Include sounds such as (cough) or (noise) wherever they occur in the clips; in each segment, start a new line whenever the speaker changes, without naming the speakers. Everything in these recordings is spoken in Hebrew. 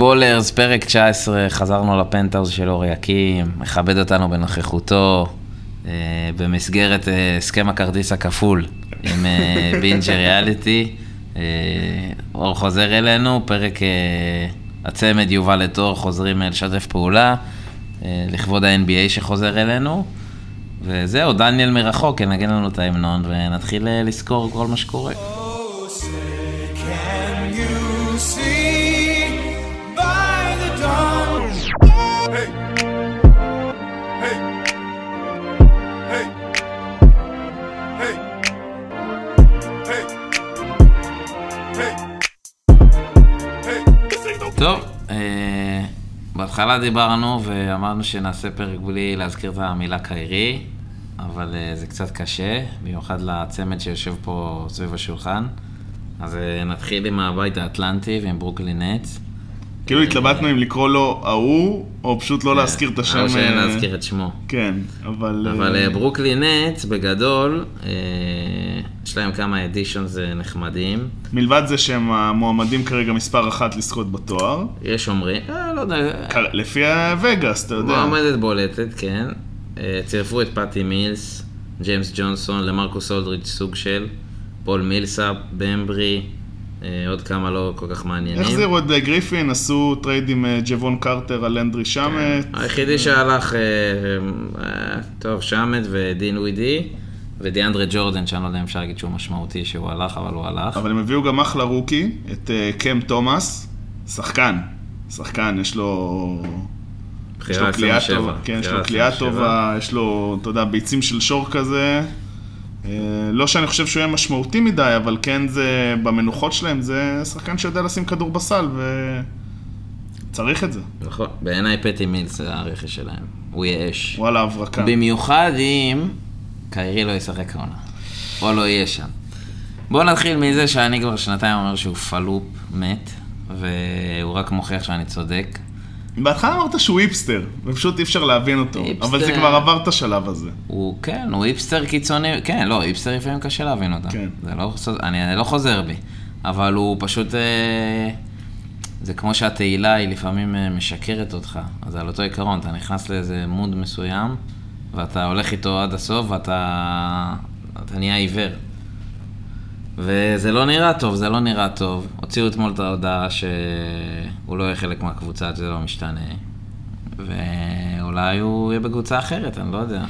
בולרס, פרק 19, חזרנו לפנטהאוז של אור יקים, מכבד אותנו בנוכחותו, אה, במסגרת אה, הסכם הכרטיס הכפול עם אה, בינג'ר ריאליטי. אה, אור חוזר אלינו, פרק אה, הצמד יובל את אור, חוזרים אה, לשתף פעולה, אה, לכבוד ה-NBA שחוזר אלינו. וזהו, דניאל מרחוק ינגן לנו את ההמנון ונתחיל אה, לזכור כל מה שקורה.
Oh, say, can you see by the dawn? Hey, hey, hey, hey, hey, hey, hey.
טוב, אה, בהתחלה דיברנו ואמרנו שנעשה פרק בלי להזכיר את המילה קיירי, אבל אה, זה קצת קשה, במיוחד לצמד שיושב פה סביב השולחן. אז אה, נתחיל עם הבית האטלנטי ועם ברוקלין נטס.
כאילו התלבטנו אם לקרוא לו ההוא, או פשוט לא להזכיר את השם.
או
אה,
שנזכיר את שמו.
כן, אבל...
אבל
אה,
אה, ברוקלין נטס, בגדול, אה, יש להם כמה אדישונס נחמדים.
מלבד זה שהם המועמדים כרגע מספר אחת לזכות בתואר,
יש אומרים, אה, לא יודע,
כ- לפי הווגאס, אתה יודע.
מועמדת בולטת, כן. אה, צירפו את פאטי מילס, ג'יימס ג'ונסון, למרקוס אולדריץ' סוג של, פול מילסאפ, במברי, אה, עוד כמה לא כל כך מעניינים.
החזירו את אה, גריפין, עשו טרייד עם אה, ג'וון קרטר על אנדרי שמט.
היחידי שהלך, אה, אה, טוב, שמט ודין ווידי, ודיאנדרה ג'ורדן, שאני לא יודע אם אפשר להגיד שהוא משמעותי שהוא הלך, אבל הוא הלך.
אבל הם הביאו גם אחלה רוקי, את אה, קם תומאס, שחקן. שחקן, יש לו... יש
בחירה
לו כליאה
27,
טובה, כן, יש
בחירה
לו כליאה
27.
טובה, יש לו, אתה יודע, ביצים של שור כזה. אה, לא שאני חושב שהוא יהיה משמעותי מדי, אבל כן זה, במנוחות שלהם, זה שחקן שיודע לשים כדור בסל, וצריך את זה.
נכון, בעיניי פטי מילס זה הרכש שלהם, הוא יהיה אש.
וואלה, הברקה.
במיוחד אם קיירי לא ישחק העונה, או לא יהיה שם. בואו נתחיל מזה שאני כבר שנתיים אומר שהוא פלופ מת, והוא רק מוכיח שאני צודק.
בהתחלה אמרת שהוא היפסטר, ופשוט אי אפשר להבין אותו,
היפסטר.
אבל זה כבר עבר את השלב הזה.
הוא, כן, הוא היפסטר קיצוני, כן, לא, היפסטר לפעמים קשה להבין אותם.
כן.
זה לא, אני, אני לא חוזר בי, אבל הוא פשוט, אה, זה כמו שהתהילה היא לפעמים אה, משקרת אותך, אז על אותו עיקרון, אתה נכנס לאיזה מוד מסוים, ואתה הולך איתו עד הסוף, ואתה אתה נהיה עיוור. וזה לא נראה טוב, זה לא נראה טוב. הוציאו אתמול את ההודעה שהוא לא יהיה חלק מהקבוצה, זה לא משתנה. ואולי הוא יהיה בקבוצה אחרת, אני לא יודע.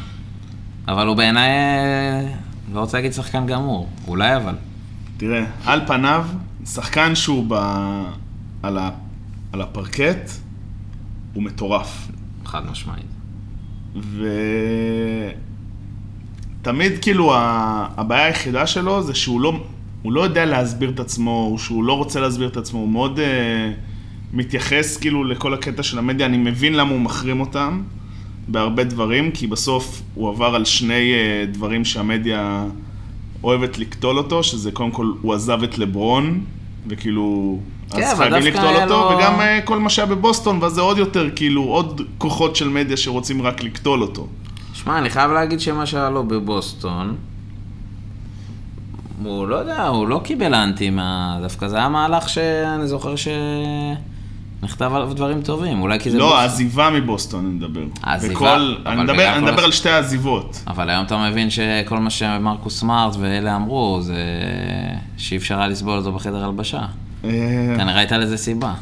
אבל הוא בעיניי, אה, לא רוצה להגיד שחקן גמור, אולי אבל.
תראה, על פניו, שחקן שהוא ב... על, ה... על הפרקט, הוא מטורף.
חד משמעית.
ותמיד כאילו ה- הבעיה היחידה שלו זה שהוא לא, הוא לא יודע להסביר את עצמו, או שהוא לא רוצה להסביר את עצמו, הוא מאוד אה, מתייחס כאילו לכל הקטע של המדיה, אני מבין למה הוא מחרים אותם בהרבה דברים, כי בסוף הוא עבר על שני אה, דברים שהמדיה אוהבת לקטול אותו, שזה קודם כל הוא עזב את לברון, וכאילו...
כן,
אז
אבל
חייבים
דווקא
לקטול
היה
אותו,
לו-
וגם אה, כל מה שהיה בבוסטון, ואז זה עוד יותר, כאילו, עוד כוחות של מדיה שרוצים רק לקטול אותו.
שמע, אני חייב להגיד שמה שהיה לו בבוסטון, הוא לא יודע, הוא לא קיבל אנטי מה... דווקא זה היה מהלך שאני זוכר שנכתב עליו דברים טובים, אולי כי זה...
לא,
בוסטון.
העזיבה מבוסטון אני מדבר.
העזיבה,
בכל-
אבל
אני מדבר,
בגלל
אני
כל
מדבר
הס-
על שתי העזיבות.
אבל היום אתה מבין שכל מה שמרקוס סמארט ואלה אמרו, זה שאי אפשר היה לסבול אותו בחדר הלבשה.
אה,
כנראה הייתה לזה סיבה.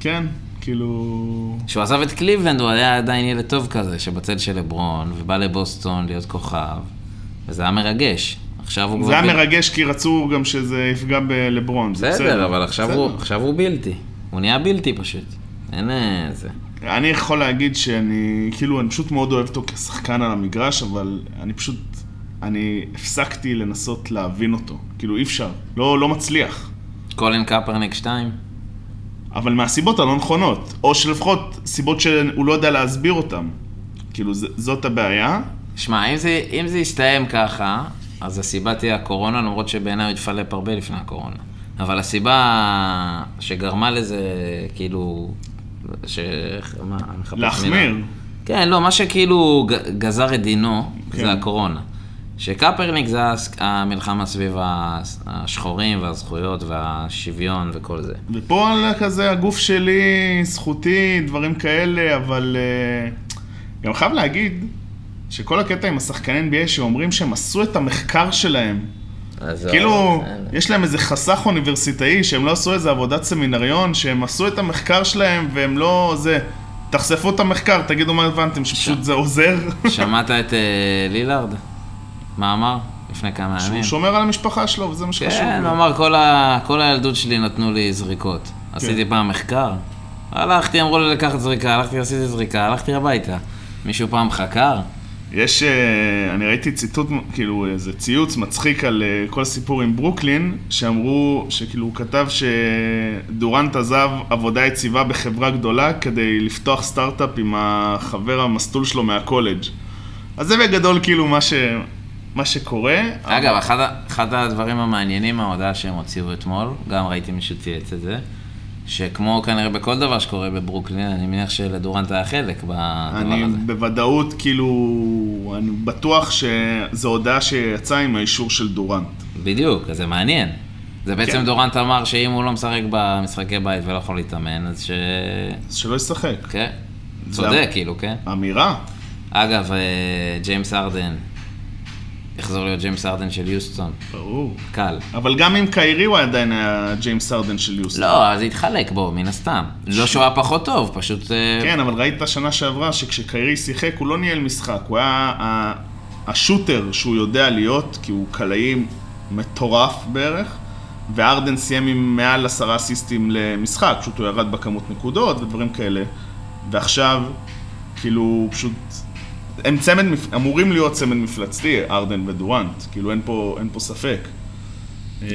כן, כאילו...
כשהוא עזב את קליבלנד הוא היה עדיין ילד טוב כזה, שבצל של לברון, ובא לבוסטון להיות כוכב, וזה היה מרגש. עכשיו הוא
זה היה
ב-
מרגש כי רצו גם שזה יפגע בלברון. זה
בסדר, אבל עכשיו
בסדר.
הוא, עכשיו הוא בלתי. הוא נהיה בלתי פשוט. אין אה, זה.
אני יכול להגיד שאני, כאילו, אני פשוט מאוד אוהב אותו כשחקן על המגרש, אבל אני פשוט, אני הפסקתי לנסות להבין אותו. כאילו, אי אפשר. לא, לא מצליח.
קולין קפרניק 2?
אבל מהסיבות הלא נכונות, או שלפחות סיבות שהוא לא יודע להסביר אותן. כאילו, ז- זאת הבעיה.
שמע, אם זה, אם זה יסתיים ככה, אז הסיבה תהיה הקורונה, למרות שבעיניי הוא התפלפ הרבה לפני הקורונה. אבל הסיבה שגרמה לזה, כאילו... ש... מה, אני מחפש מילה.
להחמיר.
כן, לא, מה שכאילו ג- גזר את דינו,
כן.
זה הקורונה. שקפרניק זה הס- המלחמה סביב הס- השחורים והזכויות והשוויון וכל זה.
ופה על כזה הגוף שלי, זכותי, דברים כאלה, אבל אה, גם חייב להגיד שכל הקטע עם השחקני NBA שאומרים שהם עשו את המחקר שלהם,
אז
כאילו,
אין.
יש להם איזה חסך אוניברסיטאי שהם לא עשו איזה עבודת סמינריון, שהם עשו את המחקר שלהם והם לא זה, תחשפו את המחקר, תגידו מה הבנתם, שפשוט זה עוזר,
שמעת את אה, לילארד? מה אמר? לפני כמה
שהוא
ימים.
שומר על המשפחה שלו וזה מה שחשוב.
כן,
לו.
הוא אמר, "כל ה- כל הילדות שלי נתנו לי זריקות.
כן.
עשיתי פעם מחקר. הלכתי, אמרו לי לקחת זריקה, הלכתי, עשיתי זריקה, הלכתי הביתה. מישהו פעם חקר?
יש, אה, אני ראיתי ציטוט, כאילו איזה ציוץ מצחיק על אה, כל הסיפור עם ברוקלין, שאמרו, שכאילו הוא כתב שדורנט עזב עבודה יציבה בחברה גדולה כדי לפתוח סטארט-אפ עם החבר המסלול שלו מהקולג'. אז זה בגדול כאילו מה, ש, מה שקורה.
אגב, אחד, ה- אחד הדברים המעניינים מההודעה שהם הוציאו אתמול, גם ראיתי מישהו צייץ את זה, שכמו כנראה בכל דבר שקורה בברוקלין, אני מניח שלדורנט היה חלק בדבר
אני
הזה.
בוודאות, כאילו, אני בטוח שזו הודעה שיצאה עם האישור של דורנט.
בדיוק, אז זה מעניין. זה בעצם
כן.
דורנט אמר שאם הוא לא משחק במשחקי בית ולא יכול להתאמן, אז ש...
אז שלא ישחק.
כן.
זה
צודק,
אמ-
כאילו, כן.
אמירה.
אגב, אה, ג'יימס ארדן, יחזור להיות ג'יימס ארדן של יוסטון,
ברור.
קל.
אבל גם עם קיירי הוא עדיין היה ג'יימס ארדן של יוסטון.
לא, אז זה התחלק בו, מן הסתם. לא שהוא היה פחות טוב, פשוט... אה,
כן, אבל ראית שנה שעברה שכשקיירי שיחק הוא לא ניהל משחק, הוא היה ה- השוטר שהוא יודע להיות, כי הוא קלעי מטורף בערך, וארדן סיים עם מעל עשרה אסיסטים למשחק, פשוט הוא ירד בכמות נקודות ודברים כאלה, ועכשיו, כאילו, הוא פשוט... הם צמד, מפ- אמורים להיות צמד מפלצתי, ארדן ודורנט, כאילו אין פה, אין פה ספק. אה,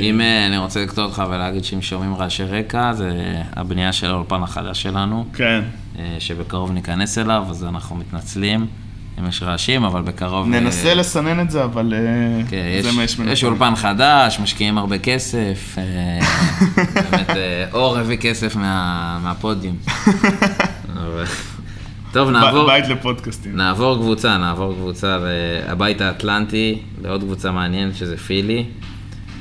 אם אה, אני רוצה לקטוע אותך ולהגיד שאם שומעים רעשי רקע, זה הבנייה של האולפן החדש שלנו,
כן.
אה, שבקרוב ניכנס אליו, אז אנחנו מתנצלים אם יש רעשים, אבל בקרוב... אה,
ננסה לסנן את זה, אבל אה,
כן,
זה
יש-
מה יש
יש
מנתון.
אולפן חדש, משקיעים הרבה כסף,
(laughs)
אה, באמת, אה, אור הביא כסף מה-
(laughs)
מהפודיום. אבל- טוב,
ב-
נעבור...
בית לפודקאסטים.
נעבור קבוצה, נעבור קבוצה לבית האטלנטי, לעוד קבוצה מעניינת שזה פילי.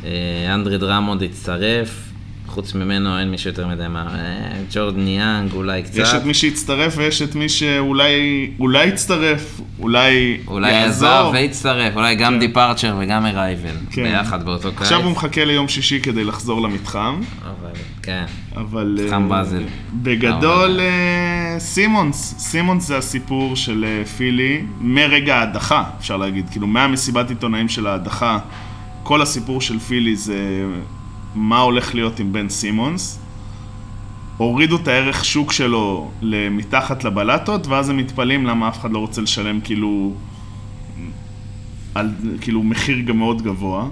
אה, אנדרי דרמונד הצטרף, חוץ ממנו אין מישהו יותר מדי מה... אה, ג'ורדן יאנג אולי קצת.
יש את מי שהצטרף ויש את מי שאולי אולי יצטרף, אולי
אולי עזב והצטרף, אולי גם דיפרצ'ר וגם ארייבל,
כן.
ביחד באותו קיץ.
עכשיו הוא מחכה ליום שישי כדי לחזור למתחם,
אבל, כן.
אבל...
מתחם
אה,
באזל.
בגדול, אה, סימונס, סימונס זה הסיפור של אה, פילי מרגע ההדחה, אפשר להגיד, כאילו מהמסיבת עיתונאים של ההדחה, כל הסיפור של פילי זה מה הולך להיות עם בן סימונס. הורידו את הערך שוק שלו מתחת לבלטות, ואז הם מתפלאים למה אף אחד לא רוצה לשלם כאילו, על, כאילו מחיר גם מאוד גבוה.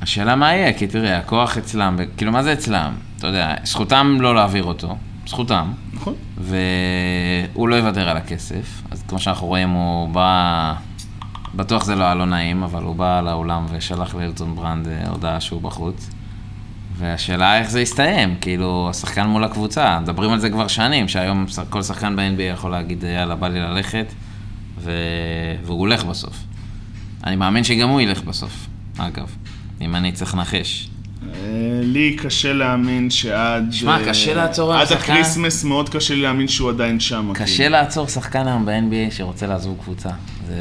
השאלה מה יהיה, כי תראה, הכוח אצלם, כאילו מה זה אצלם? אתה יודע, זכותם לא להעביר אותו, זכותם.
נכון.
והוא לא יוותר על הכסף, אז כמו שאנחנו רואים, הוא בא... בטוח זה לא היה לו נעים, אבל הוא בא לאולם ושלח לאילטון ברנד אה, הודעה שהוא בחוץ. והשאלה איך זה יסתיים, כאילו, השחקן מול הקבוצה, מדברים על זה כבר שנים, שהיום ש- כל שחקן ב-NBA יכול להגיד, אה, יאללה, בא לי ללכת, ו... והוא הולך בסוף. אני מאמין שגם הוא ילך בסוף, אגב, אם אני צריך לנחש.
אה, לי קשה להאמין שעד...
שמע,
אה,
קשה לעצור
עד
ההפסקה.
הקריסמס מאוד קשה לי להאמין שהוא עדיין שם.
קשה
כאילו.
לעצור שחקן היום ב-NBA שרוצה לעזוב קבוצה. זה...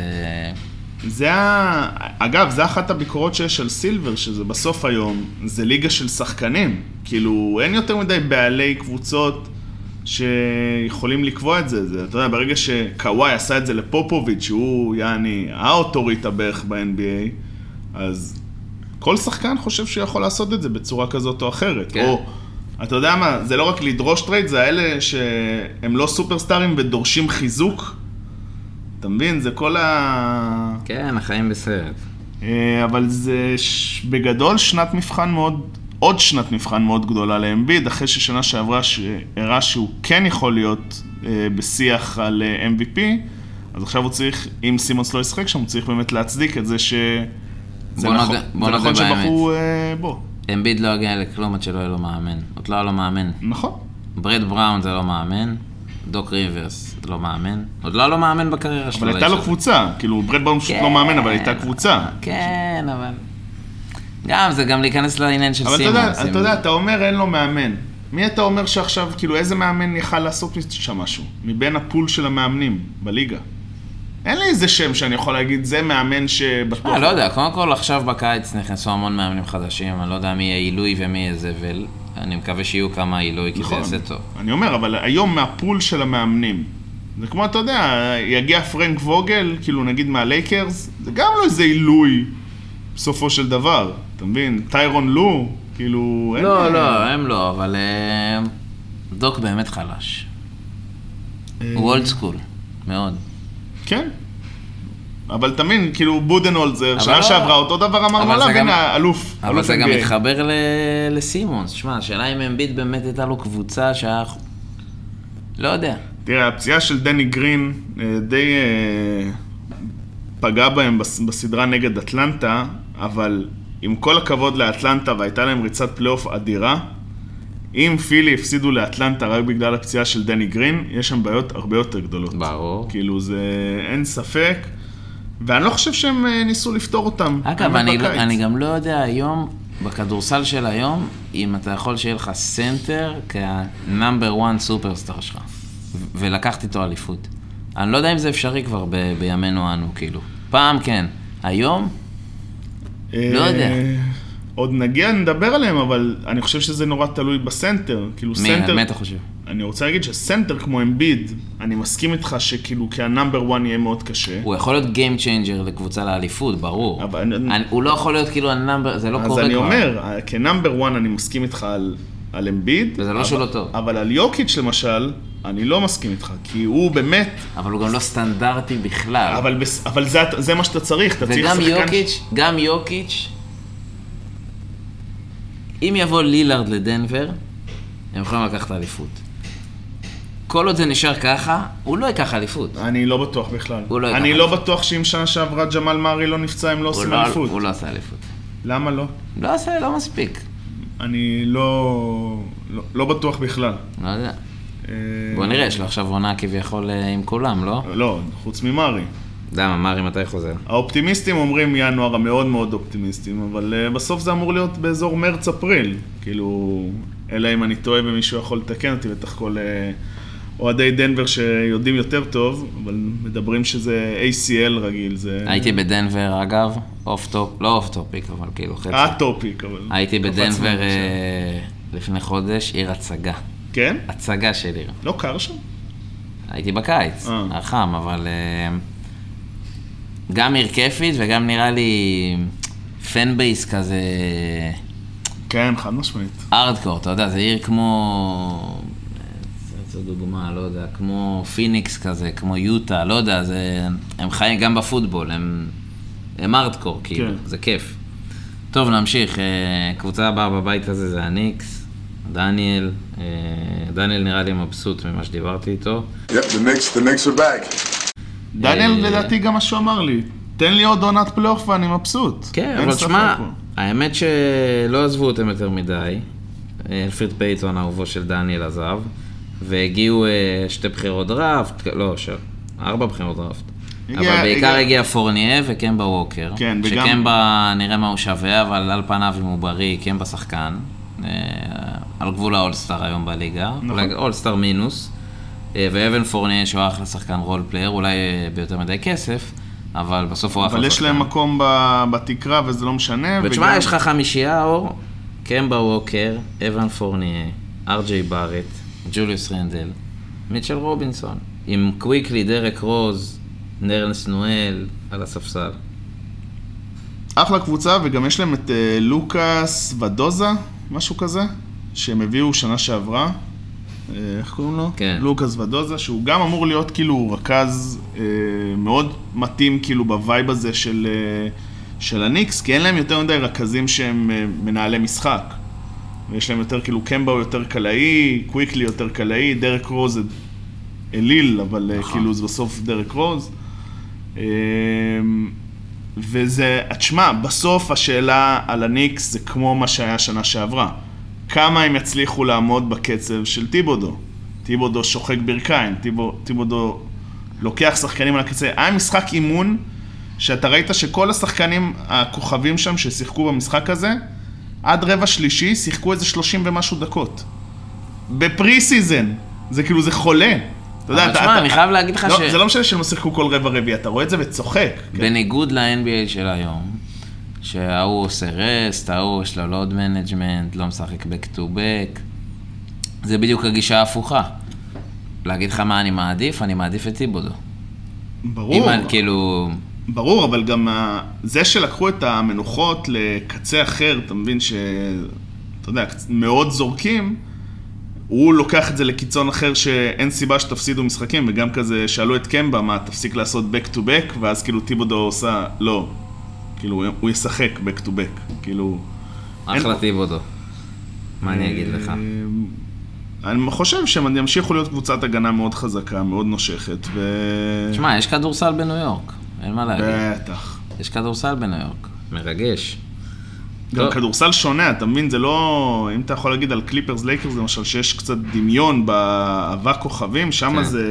זה ה... אגב, זה אחת הביקורות שיש על סילבר, שזה בסוף היום, זה ליגה של שחקנים. כאילו, אין יותר מדי בעלי קבוצות שיכולים לקבוע את זה. זה אתה יודע, ברגע שקוואי עשה את זה לפופוביץ', שהוא יעני האוטוריטה בערך ב-NBA, אז כל שחקן חושב שהוא יכול לעשות את זה בצורה כזאת או אחרת.
כן.
כן. או, אתה יודע מה, זה לא רק לדרוש טרייד, זה האלה שהם לא סופרסטארים ודורשים חיזוק. אתה מבין? זה כל ה...
כן, החיים בסרט.
אה, אבל זה ש... בגדול שנת מבחן מאוד, עוד שנת מבחן מאוד גדולה לאמביד, אחרי ששנה שעברה ש... הראה שהוא כן יכול להיות אה, בשיח על אה, MVP, אז עכשיו הוא צריך, אם סימונס לא ישחק שם, הוא צריך באמת להצדיק את זה ש... זה
בוא
נכון,
נודה- בוא נודה
זה נכון
באמת.
שבחרו אה, בו.
אמביד לא יגיע לכלום עד שלא יהיה לו מאמן. עוד לא היה לו מאמן.
נכון.
ברד בראון זה לא מאמן. דוק ריברס, לא מאמן. עוד לא כן. לא מאמן בקריירה שלו.
אבל הייתה
האיש
לו
הזה.
קבוצה, כאילו ברד ברון פשוט לא מאמן, אבל הייתה קבוצה.
כן, אבל... גם, זה גם להיכנס לעניין של
אבל אתה
סימון.
יודע, אתה יודע, אתה אומר אין לו מאמן. מי אתה אומר שעכשיו, כאילו איזה מאמן יכל לעשות שם משהו? מבין הפול של המאמנים בליגה. אין לי איזה שם שאני יכול להגיד, זה מאמן שבטוח...
אה, לא יודע, קודם כל עכשיו בקיץ נכנסו המון מאמנים חדשים, אני לא יודע מי יהיה עילוי ומי יהיה זבל. אני מקווה שיהיו כמה עילוי,
נכון.
כי זה יעשה טוב.
אני אומר, אבל היום מהפול של המאמנים. זה כמו, אתה יודע, יגיע פרנק ווגל, כאילו נגיד מהלייקרס, זה גם לא איזה עילוי בסופו של דבר, אתה מבין? טיירון לו, כאילו... אין-
לא, לא, הם לא, אבל אה, דוק באמת חלש.
אה,
הוא אולד סקול, מאוד.
כן. אבל אתה מבין, כאילו בודנהולזר,
אבל
שנה
לא-
שעברה אותו דבר אמרנו
אבל זה
עליו,
גם-
הנה, אלוף.
אבל
אלוף
זה גם
NBA.
מתחבר ל- לסימונס. שמע, השאלה אם אמביט באמת הייתה לו קבוצה שהיה... לא יודע.
תראה, הפציעה של דני גרין אה, די אה, פגעה בהם בס- בסדרה נגד אטלנטה, אבל עם כל הכבוד לאטלנטה והייתה להם ריצת פלייאוף אדירה, אם פילי הפסידו לאטלנטה רק בגלל הפציעה של דני גרין, יש שם בעיות הרבה יותר גדולות.
ברור.
כאילו זה אין ספק, ואני לא חושב שהם אה, ניסו לפתור אותם.
אגב,
באמת
אני, לא,
בקיץ.
אני גם לא יודע היום, בכדורסל של היום, אם אתה יכול שיהיה לך סנטר כנאמבר 1 סופרסטאר שלך, ו- ולקחת איתו אליפות. אני לא יודע אם זה אפשרי כבר ב- בימינו אנו, כאילו. פעם כן, היום? לא יודע.
אה, עוד נגיע, נדבר עליהם, אבל אני חושב שזה נורא תלוי בסנטר. כאילו
מי,
סנטר...
מי אתה חושב?
אני רוצה להגיד שסנטר כמו אמביד, אני מסכים איתך שכאילו כהנאמבר 1 יהיה מאוד קשה.
הוא יכול להיות גיים צ'יינג'ר לקבוצה לאליפות, ברור.
אבל אני-
אני, הוא לא יכול להיות כאילו הנאמבר, זה לא
אז
קורה
אני
כבר.
אומר, אה, כנאמבר 1 אני מסכים איתך על, על אמביד.
וזה לא
אבל-
שהוא לא טוב.
אבל על יוקיץ' למשל, אני לא מסכים איתך, כי הוא באמת,
אבל הוא גם לא סטנדרטי בכלל.
אבל, בס- אבל זה, זה מה שאתה צריך, אתה צריך
אה. וגם
שחקן...
יוקיץ', גם יוקיץ', אם יבוא לילארד לדנבר, הם יכולים לקחת אליפות. כל עוד זה נשאר ככה, הוא לא ייקח אליפות.
אני לא בטוח בכלל.
הוא לא ייקח
אני לא
אליפות.
בטוח שאם שנה שעברה ג'מאל מארי לא נפצע, הם לא
הוא
עושים
לא-
אליפות.
הוא לא עשה אליפות.
למה לא?
לא עשה, לא מספיק.
אני לא, לא, לא בטוח בכלל.
לא יודע.
אה,
בוא נראה, יש לו עכשיו עונה כביכול אה, עם כולם, לא?
לא, חוץ ממרי.
למה, מארי מתי חוזר?
האופטימיסטים אומרים ינואר המאוד מאוד אופטימיסטים, אבל אה, בסוף זה אמור להיות באזור מרץ-אפריל. כאילו, אלא אם אני טועה ומישהו יכול לתקן אותי, בטח כל אה, אוהדי דנבר שיודעים יותר טוב, אבל מדברים שזה ACL רגיל, זה
הייתי בדנבר, אגב, אוף טופ, לא אוף טופיק, אבל כאילו חצי.
אה, הטופיק, אבל... לא
הייתי
קפצנו
בדנבר
עכשיו.
אה, לפני חודש, עיר הצגה.
כן?
הצגה של עיר.
לא קר שם?
הייתי בקיץ,
אה.
היה חם, אבל אה, גם עיר כיפית וגם נראה לי פן בייס כזה
כן, חד משמעית.
ארדקור, אתה יודע, זה עיר כמו, אה, זו דוגמה, לא יודע, כמו פיניקס כזה, כמו יוטה, לא יודע, זה, הם חיים גם בפוטבול, הם, הם ארדקור, כאילו,
כן.
זה כיף. טוב, נמשיך, אה, קבוצה הבאה בבית הזה זה הניקס, דניאל, אה, דניאל נראה לי מבסוט ממה שדיברתי איתו.
Yep, the Knicks, the Knicks are back.
דניאל,
אה,
לדעתי גם מה שהוא אמר לי, תן לי עוד עונת פלייאוף ואני מבסוט.
כן,
אין
אבל
ספק
שמע,
פה.
האמת שלא עזבו אותם יותר מדי. אלפריד פייתון, אהובו של דניאל, עזב. והגיעו אה, שתי בחירות דראפט, לא, ש... ארבע בחירות דראפט.
הגיע-
אבל בעיקר
הגיע-
הגיע פורניה וקמבה ווקר.
כן, וגם-
שקמבה נראה מה הוא שווה, אבל על פניו אם הוא בריא, קמבה שחקן. אה, על גבול האולסטאר היום בליגה.
נכון.
אולי אולסטאר מינוס. אה, ואבן פורניה שהוא אחלה שחקן רול פלייר, אולי אה, ביותר מדי כסף, אבל בסוף הוא אחלה
אבל
שחקן.
יש להם מקום ב- בתקרה וזה לא משנה.
ותשמע,
וגם-
יש לך חמישייה, אור, קמבה ווקר, אבן פורניה, ארג'יי בארט, ג'וליוס רנדל, מיטשל רובינסון, עם קוויקלי, דרק רוז, נרנס נואל, על הספסל.
אחלה קבוצה, וגם יש להם את אה, לוקאס ודוזה, משהו כזה, שהם הביאו שנה שעברה. אה, איך קוראים לו?
כן.
לוקאס ודוזה, שהוא גם אמור להיות כאילו רכז אה, מאוד מתאים כאילו בווייב הזה של, אה, של הניקס, כי אין להם יותר מדי רכזים שהם אה, מנהלי משחק. ויש להם יותר כאילו קמבה הוא יותר קלעי, קוויקלי יותר קלעי, דרק רוז זה אליל, אבל אה,
נכון.
כאילו זה בסוף דרק רוז. אה, וזה, תשמע, בסוף השאלה על הניקס זה כמו מה שהיה שנה שעברה. כמה הם יצליחו לעמוד בקצב של טיבודו? טיבודו שוחק ברכיים, טיבו- טיבודו לוקח שחקנים על הקצה. היה משחק אימון, שאתה ראית שכל השחקנים הכוכבים שם ששיחקו במשחק הזה, עד רבע שלישי שיחקו איזה 30 ומשהו דקות. בפרי סיזן. זה כאילו, זה חולה. אתה יודע,
אבל
אתה...
שמע,
אתה-
אני חייב להגיד לך
לא,
ש-
זה לא משנה שהם לא שיחקו כל רבע רביעי, אתה רואה את זה וצוחק.
בניגוד ל-NBA של היום, שההוא עושה רסט, ההוא יש לו לואוד מנג'מנט, לא משחק בק טו בק, זה בדיוק הגישה ההפוכה. להגיד לך מה אני מעדיף? אני מעדיף את טיבודו. אם
כן, ברור.
אני כאילו...
ברור, אבל גם ה- זה שלקחו את המנוחות לקצה אחר, אתה מבין ש... אתה יודע, קצ- מאוד זורקים, הוא לוקח את זה לקיצון אחר שאין סיבה שתפסידו משחקים, וגם כזה שאלו את קמבה, מה, תפסיק לעשות back to back, ואז כאילו טיבודו עושה, לא, כאילו, הוא ישחק back to back, כאילו...
אחלה
אין-
טיבודו. מה אני אגיד לך?
אה, אני חושב שהם ימשיכו להיות קבוצת הגנה מאוד חזקה, מאוד נושכת, ו...
תשמע, יש כדורסל בניו יורק, אין מה להגיד.
בטח.
יש כדורסל בניו יורק, מרגש.
גם
טוב.
כדורסל שונה, אתה מבין? זה לא... אם אתה יכול להגיד על קליפרס לייקרס, למשל, שיש קצת דמיון באבק כוכבים, שם
כן.
זה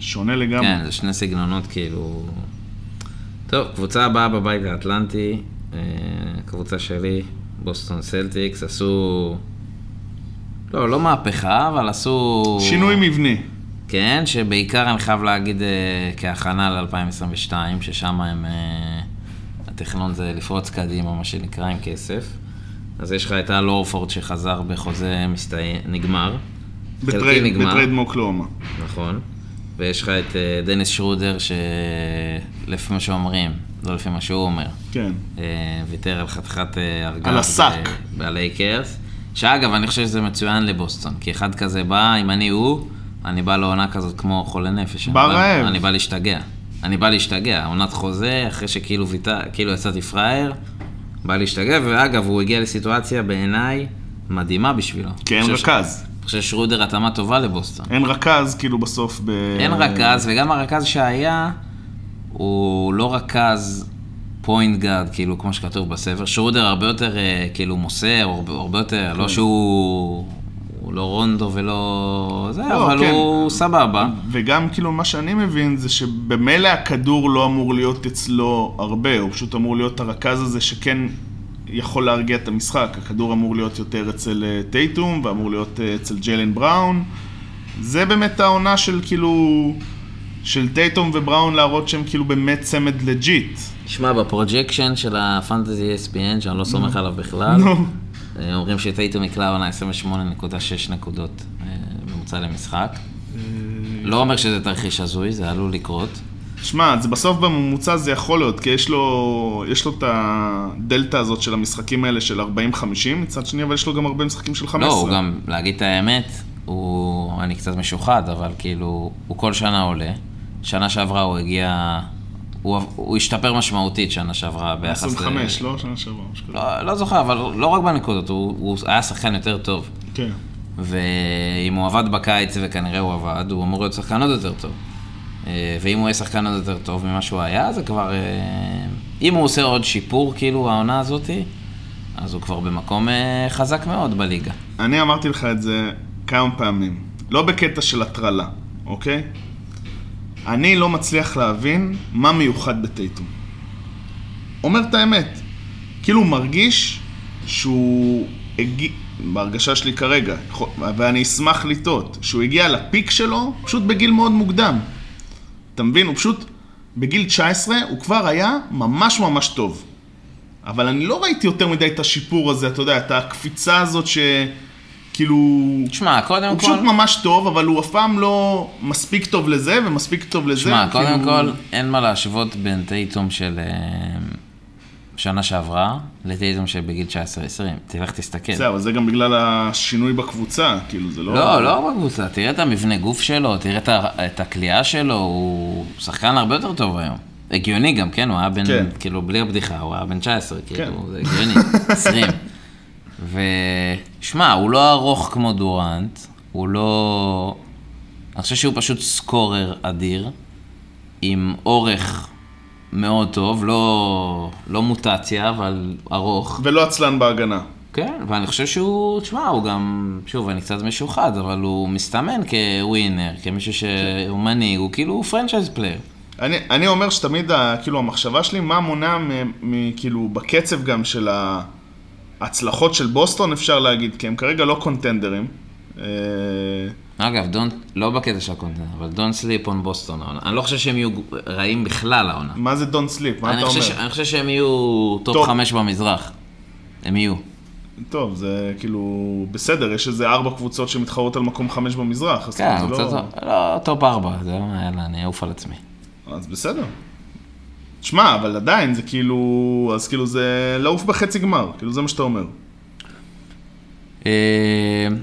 שונה לגמרי.
כן, זה שני סגנונות כאילו... טוב, קבוצה הבאה בבית האטלנטי, אה, קבוצה שלי, בוסטון סלטיקס, עשו... לא, לא מהפכה, אבל עשו...
שינוי מבני.
כן, שבעיקר אני חייב להגיד אה, כהכנה ל-2022, ששם הם... אה, התכנון זה לפרוץ קדימה, מה שנקרא, עם כסף. אז יש לך את טל אורפורד שחזר בחוזה מסתיים, נגמר. חלקי
בטרייד
נגמר.
בטרייד מאוקלאומה.
נכון. ויש לך את אה, דניס שרודר, שלפי מה שאומרים, לא לפי מה שהוא אומר,
כן.
אה, ויתר על חתיכת אה, ארגז.
על השק.
ב- בלייקרס. שאגב, אני חושב שזה מצוין לבוסטון, כי אחד כזה בא, אם אני הוא, אני בא לעונה כזאת כמו חולה נפש. אני
בא
בא-
רעב.
אני בא להשתגע. אני בא להשתגע, עונת חוזה, אחרי שכאילו ויתר, כאילו יצאתי פראייר, בא להשתגע, ואגב, הוא הגיע לסיטואציה בעיניי מדהימה בשבילו.
כי אין
אני חושב ש-
כן, רכז.
אני חושב ששרודר התאמה טובה לבוסטון.
אין רכז, כאילו, בסוף ב...
אין רכז, וגם הרכז שהיה, הוא לא רכז פוינט גארד, כאילו, כמו שכתוב בספר. שרודר הרבה יותר, אה, כאילו, מוסר, הרבה, הרבה יותר,
כן.
לא שהוא... הוא לא רונדו ולא... זה,
לא,
אבל
כן.
הוא סבבה.
וגם כאילו מה שאני מבין זה שבמילא הכדור לא אמור להיות אצלו הרבה, הוא פשוט אמור להיות הרכז הזה שכן יכול להרגיע את המשחק. הכדור אמור להיות יותר אצל אה, טייטום ואמור להיות אה, אצל ג'יילן בראון. זה באמת העונה של כאילו, של טייטום ובראון להראות שהם כאילו באמת צמד לג'יט.
שמע, בפרוג'קשן של הפנטזי ESPN, שאני לא סומך עליו בכלל,
נו.
אה, אומרים שטייטום יקלע עונה 28.6 נקודות אה, ממוצע למשחק.
אה,
לא אומר שזה תרחיש הזוי, זה עלול לקרות.
שמע, זה בסוף בממוצע זה יכול להיות, כי יש לו, יש לו את הדלתא הזאת של המשחקים האלה של 40-50 מצד שני, אבל יש לו גם הרבה משחקים של 15.
לא, הוא גם, להגיד את האמת, הוא, אני קצת משוחד, אבל כאילו, הוא כל שנה עולה. שנה שעברה הוא הגיע, הוא, הוא השתפר משמעותית שנה שעברה ביחס... ל-
25, לא? שנה שעברה, משהו כזה.
לא, לא זוכר, אבל לא רק בנקודות, הוא, הוא היה שחקן יותר טוב.
כן.
ואם הוא עבד בקיץ, וכנראה הוא עבד, הוא אמור להיות שחקן עוד יותר טוב. אה, ואם הוא יהיה שחקן עוד יותר טוב ממה שהוא היה, זה כבר... אה, אם הוא עושה עוד שיפור, כאילו, העונה הזאתי, אז הוא כבר במקום אה, חזק מאוד בליגה.
אני אמרתי לך את זה כמה פעמים, לא בקטע של הטרלה, אוקיי? אני לא מצליח להבין מה מיוחד בטייטום. אומר את האמת, כאילו הוא מרגיש שהוא הגיע, בהרגשה שלי כרגע, יכול- ואני אשמח לטעות, שהוא הגיע לפיק שלו פשוט בגיל מאוד מוקדם. אתה מבין? הוא פשוט, בגיל 19 הוא כבר היה ממש ממש טוב. אבל אני לא ראיתי יותר מדי את השיפור הזה, אתה יודע, את הקפיצה הזאת שכאילו...
תשמע, קודם
הוא
כל...
פשוט ממש טוב, אבל הוא אף פעם לא מספיק טוב לזה ומספיק טוב לזה.
שמע, קודם
כאילו-
כל, אין מה להשוות בין טייטום של אה, שנה שעברה לטייטום שבגיל 19-20. תלך תסתכל.
זה, אבל זה גם בגלל השינוי בקבוצה, כאילו, זה לא...
לא, לא בקבוצה, תראה את המבנה גוף שלו, תראה את ה- את הכלייה שלו, הוא שחקן הרבה יותר טוב היום. הגיוני גם, כן, הוא היה בן,
כן.
כאילו, בלי הבדיחה, הוא היה בן 19, כאילו,
כן.
זה
(laughs)
הגיוני, 20. ושמע, הוא לא ארוך כמו דורנט, הוא לא... אני חושב שהוא פשוט סקורר אדיר, עם אורך מאוד טוב, לא, לא מוטציה, אבל ארוך.
ולא עצלן בהגנה.
כן, ואני חושב שהוא, תשמע, הוא גם, שוב, אני קצת משוחד, אבל הוא מסתמן כווינר, כמישהו שהוא מנהיג, הוא כאילו פרנצ'ייז פלייר.
אני, אני אומר שתמיד, ה- כאילו, המחשבה שלי, מה מונע מ- מ- כאילו, בקצב גם של ההצלחות של בוסטון, אפשר להגיד, כי הם כרגע לא קונטנדרים. אה,
אגב, דון, לא בקטע של הקונטנט, אבל דון סליפ און בוסטון העונה. אני לא חושב שהם יהיו רעים בכלל העונה.
מה זה דון סליפ? מה
אני
אתה אומר?
חושב, ש- אני חושב שהם יהיו
טוב.
טופ חמש במזרח. הם יהיו.
טוב, זה כאילו, בסדר, יש איזה ארבע קבוצות שמתחרות על מקום חמש במזרח, אז
כן,
כאילו, זה
קצת,
לא...
לא, טופ ארבע, זה לא, יאללה, אני אעוף על עצמי.
אז בסדר. שמע, אבל עדיין, זה כאילו, אז כאילו זה לעוף בחצי גמר, כאילו זה מה שאתה אומר.
אה,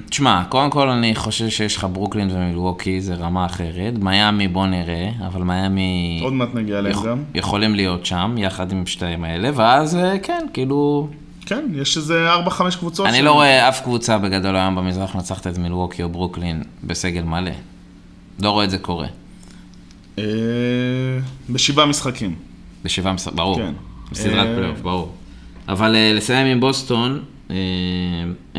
תשמע, קודם כל אני חושב שיש לך ברוקלין ומילווקי, זה רמה אחרת. מיאמי, בוא נראה, אבל מיאמי...
עוד מעט נגיע אליהם
יכול-
גם.
יכולים להיות שם, יחד עם שתיים האלה, ואז אה, כן, כאילו...
כן, יש איזה ארבע, חמש קבוצות.
אני
ש-
לא רואה אף קבוצה בגדול היום במזרח מנצחת את מילווקי או ברוקלין בסגל מלא. לא רואה את זה קורה.
אה, בשבעה משחקים.
בשבעה משחק, ברור.
כן.
בסדרת
אה,
פלייאוף, ברור. אבל אה, לסיים עם בוסטון, אה,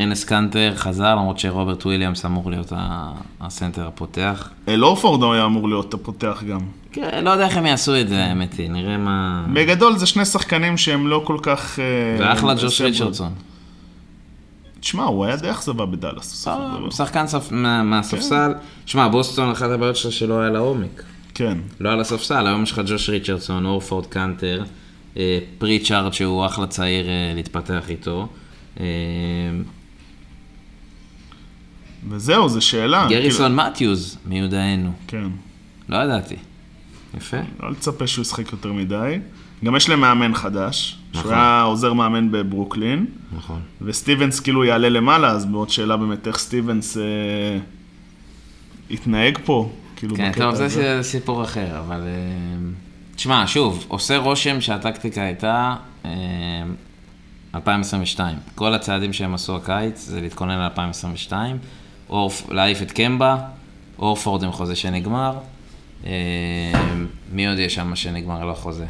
אנס קנטר חזר, למרות שרוברט וויליאמס אמור להיות ה- הסנטר הפותח.
אל אורפורד אה, היה אמור להיות הפותח גם.
כן, לא יודע איך הם יעשו את זה, האמת היא, נראה מה...
בגדול זה שני שחקנים שהם לא כל כך... אה,
ואחלה
בסדר.
ג'וש ריצ'רדסון.
תשמע, הוא היה די אכזבה בדאלאס. בסופו
אה,
של דבר.
שחקן ספ- מה- מהספסל. שמע, בוסטון, אחת הבעיות שלה שלא היה לה עומק.
כן.
לא על הספסל, היום יש לך ג'וש ריצ'רדסון, אורפורד קנטר, אה, פריצ'ארד שהוא אחלה צעיר אה, להתפתח איתו. אה,
וזהו, זו שאלה.
גריסון מתיוז, מיודענו.
כאילו, כן.
לא ידעתי. יפה.
לא לצפה שהוא ישחק יותר מדי. גם יש להם מאמן חדש, שהוא
נכון.
היה עוזר מאמן בברוקלין,
נכון.
וסטיבנס כאילו יעלה למעלה, אז מאוד שאלה באמת איך סטיבנס אה, יתנהג פה, כאילו
כן,
בקטע
טוב, זה
הזה.
ס- סיפור אחר, אבל... אה, תשמע, שוב, עושה רושם שהטקטיקה הייתה אה, 2022. כל הצעדים שהם עשו הקיץ זה להתכונן ל-2022, להעיף את קמבה, אורפורד עם חוזה שנגמר, אה, מי עוד יש שם שנגמר לו חוזה?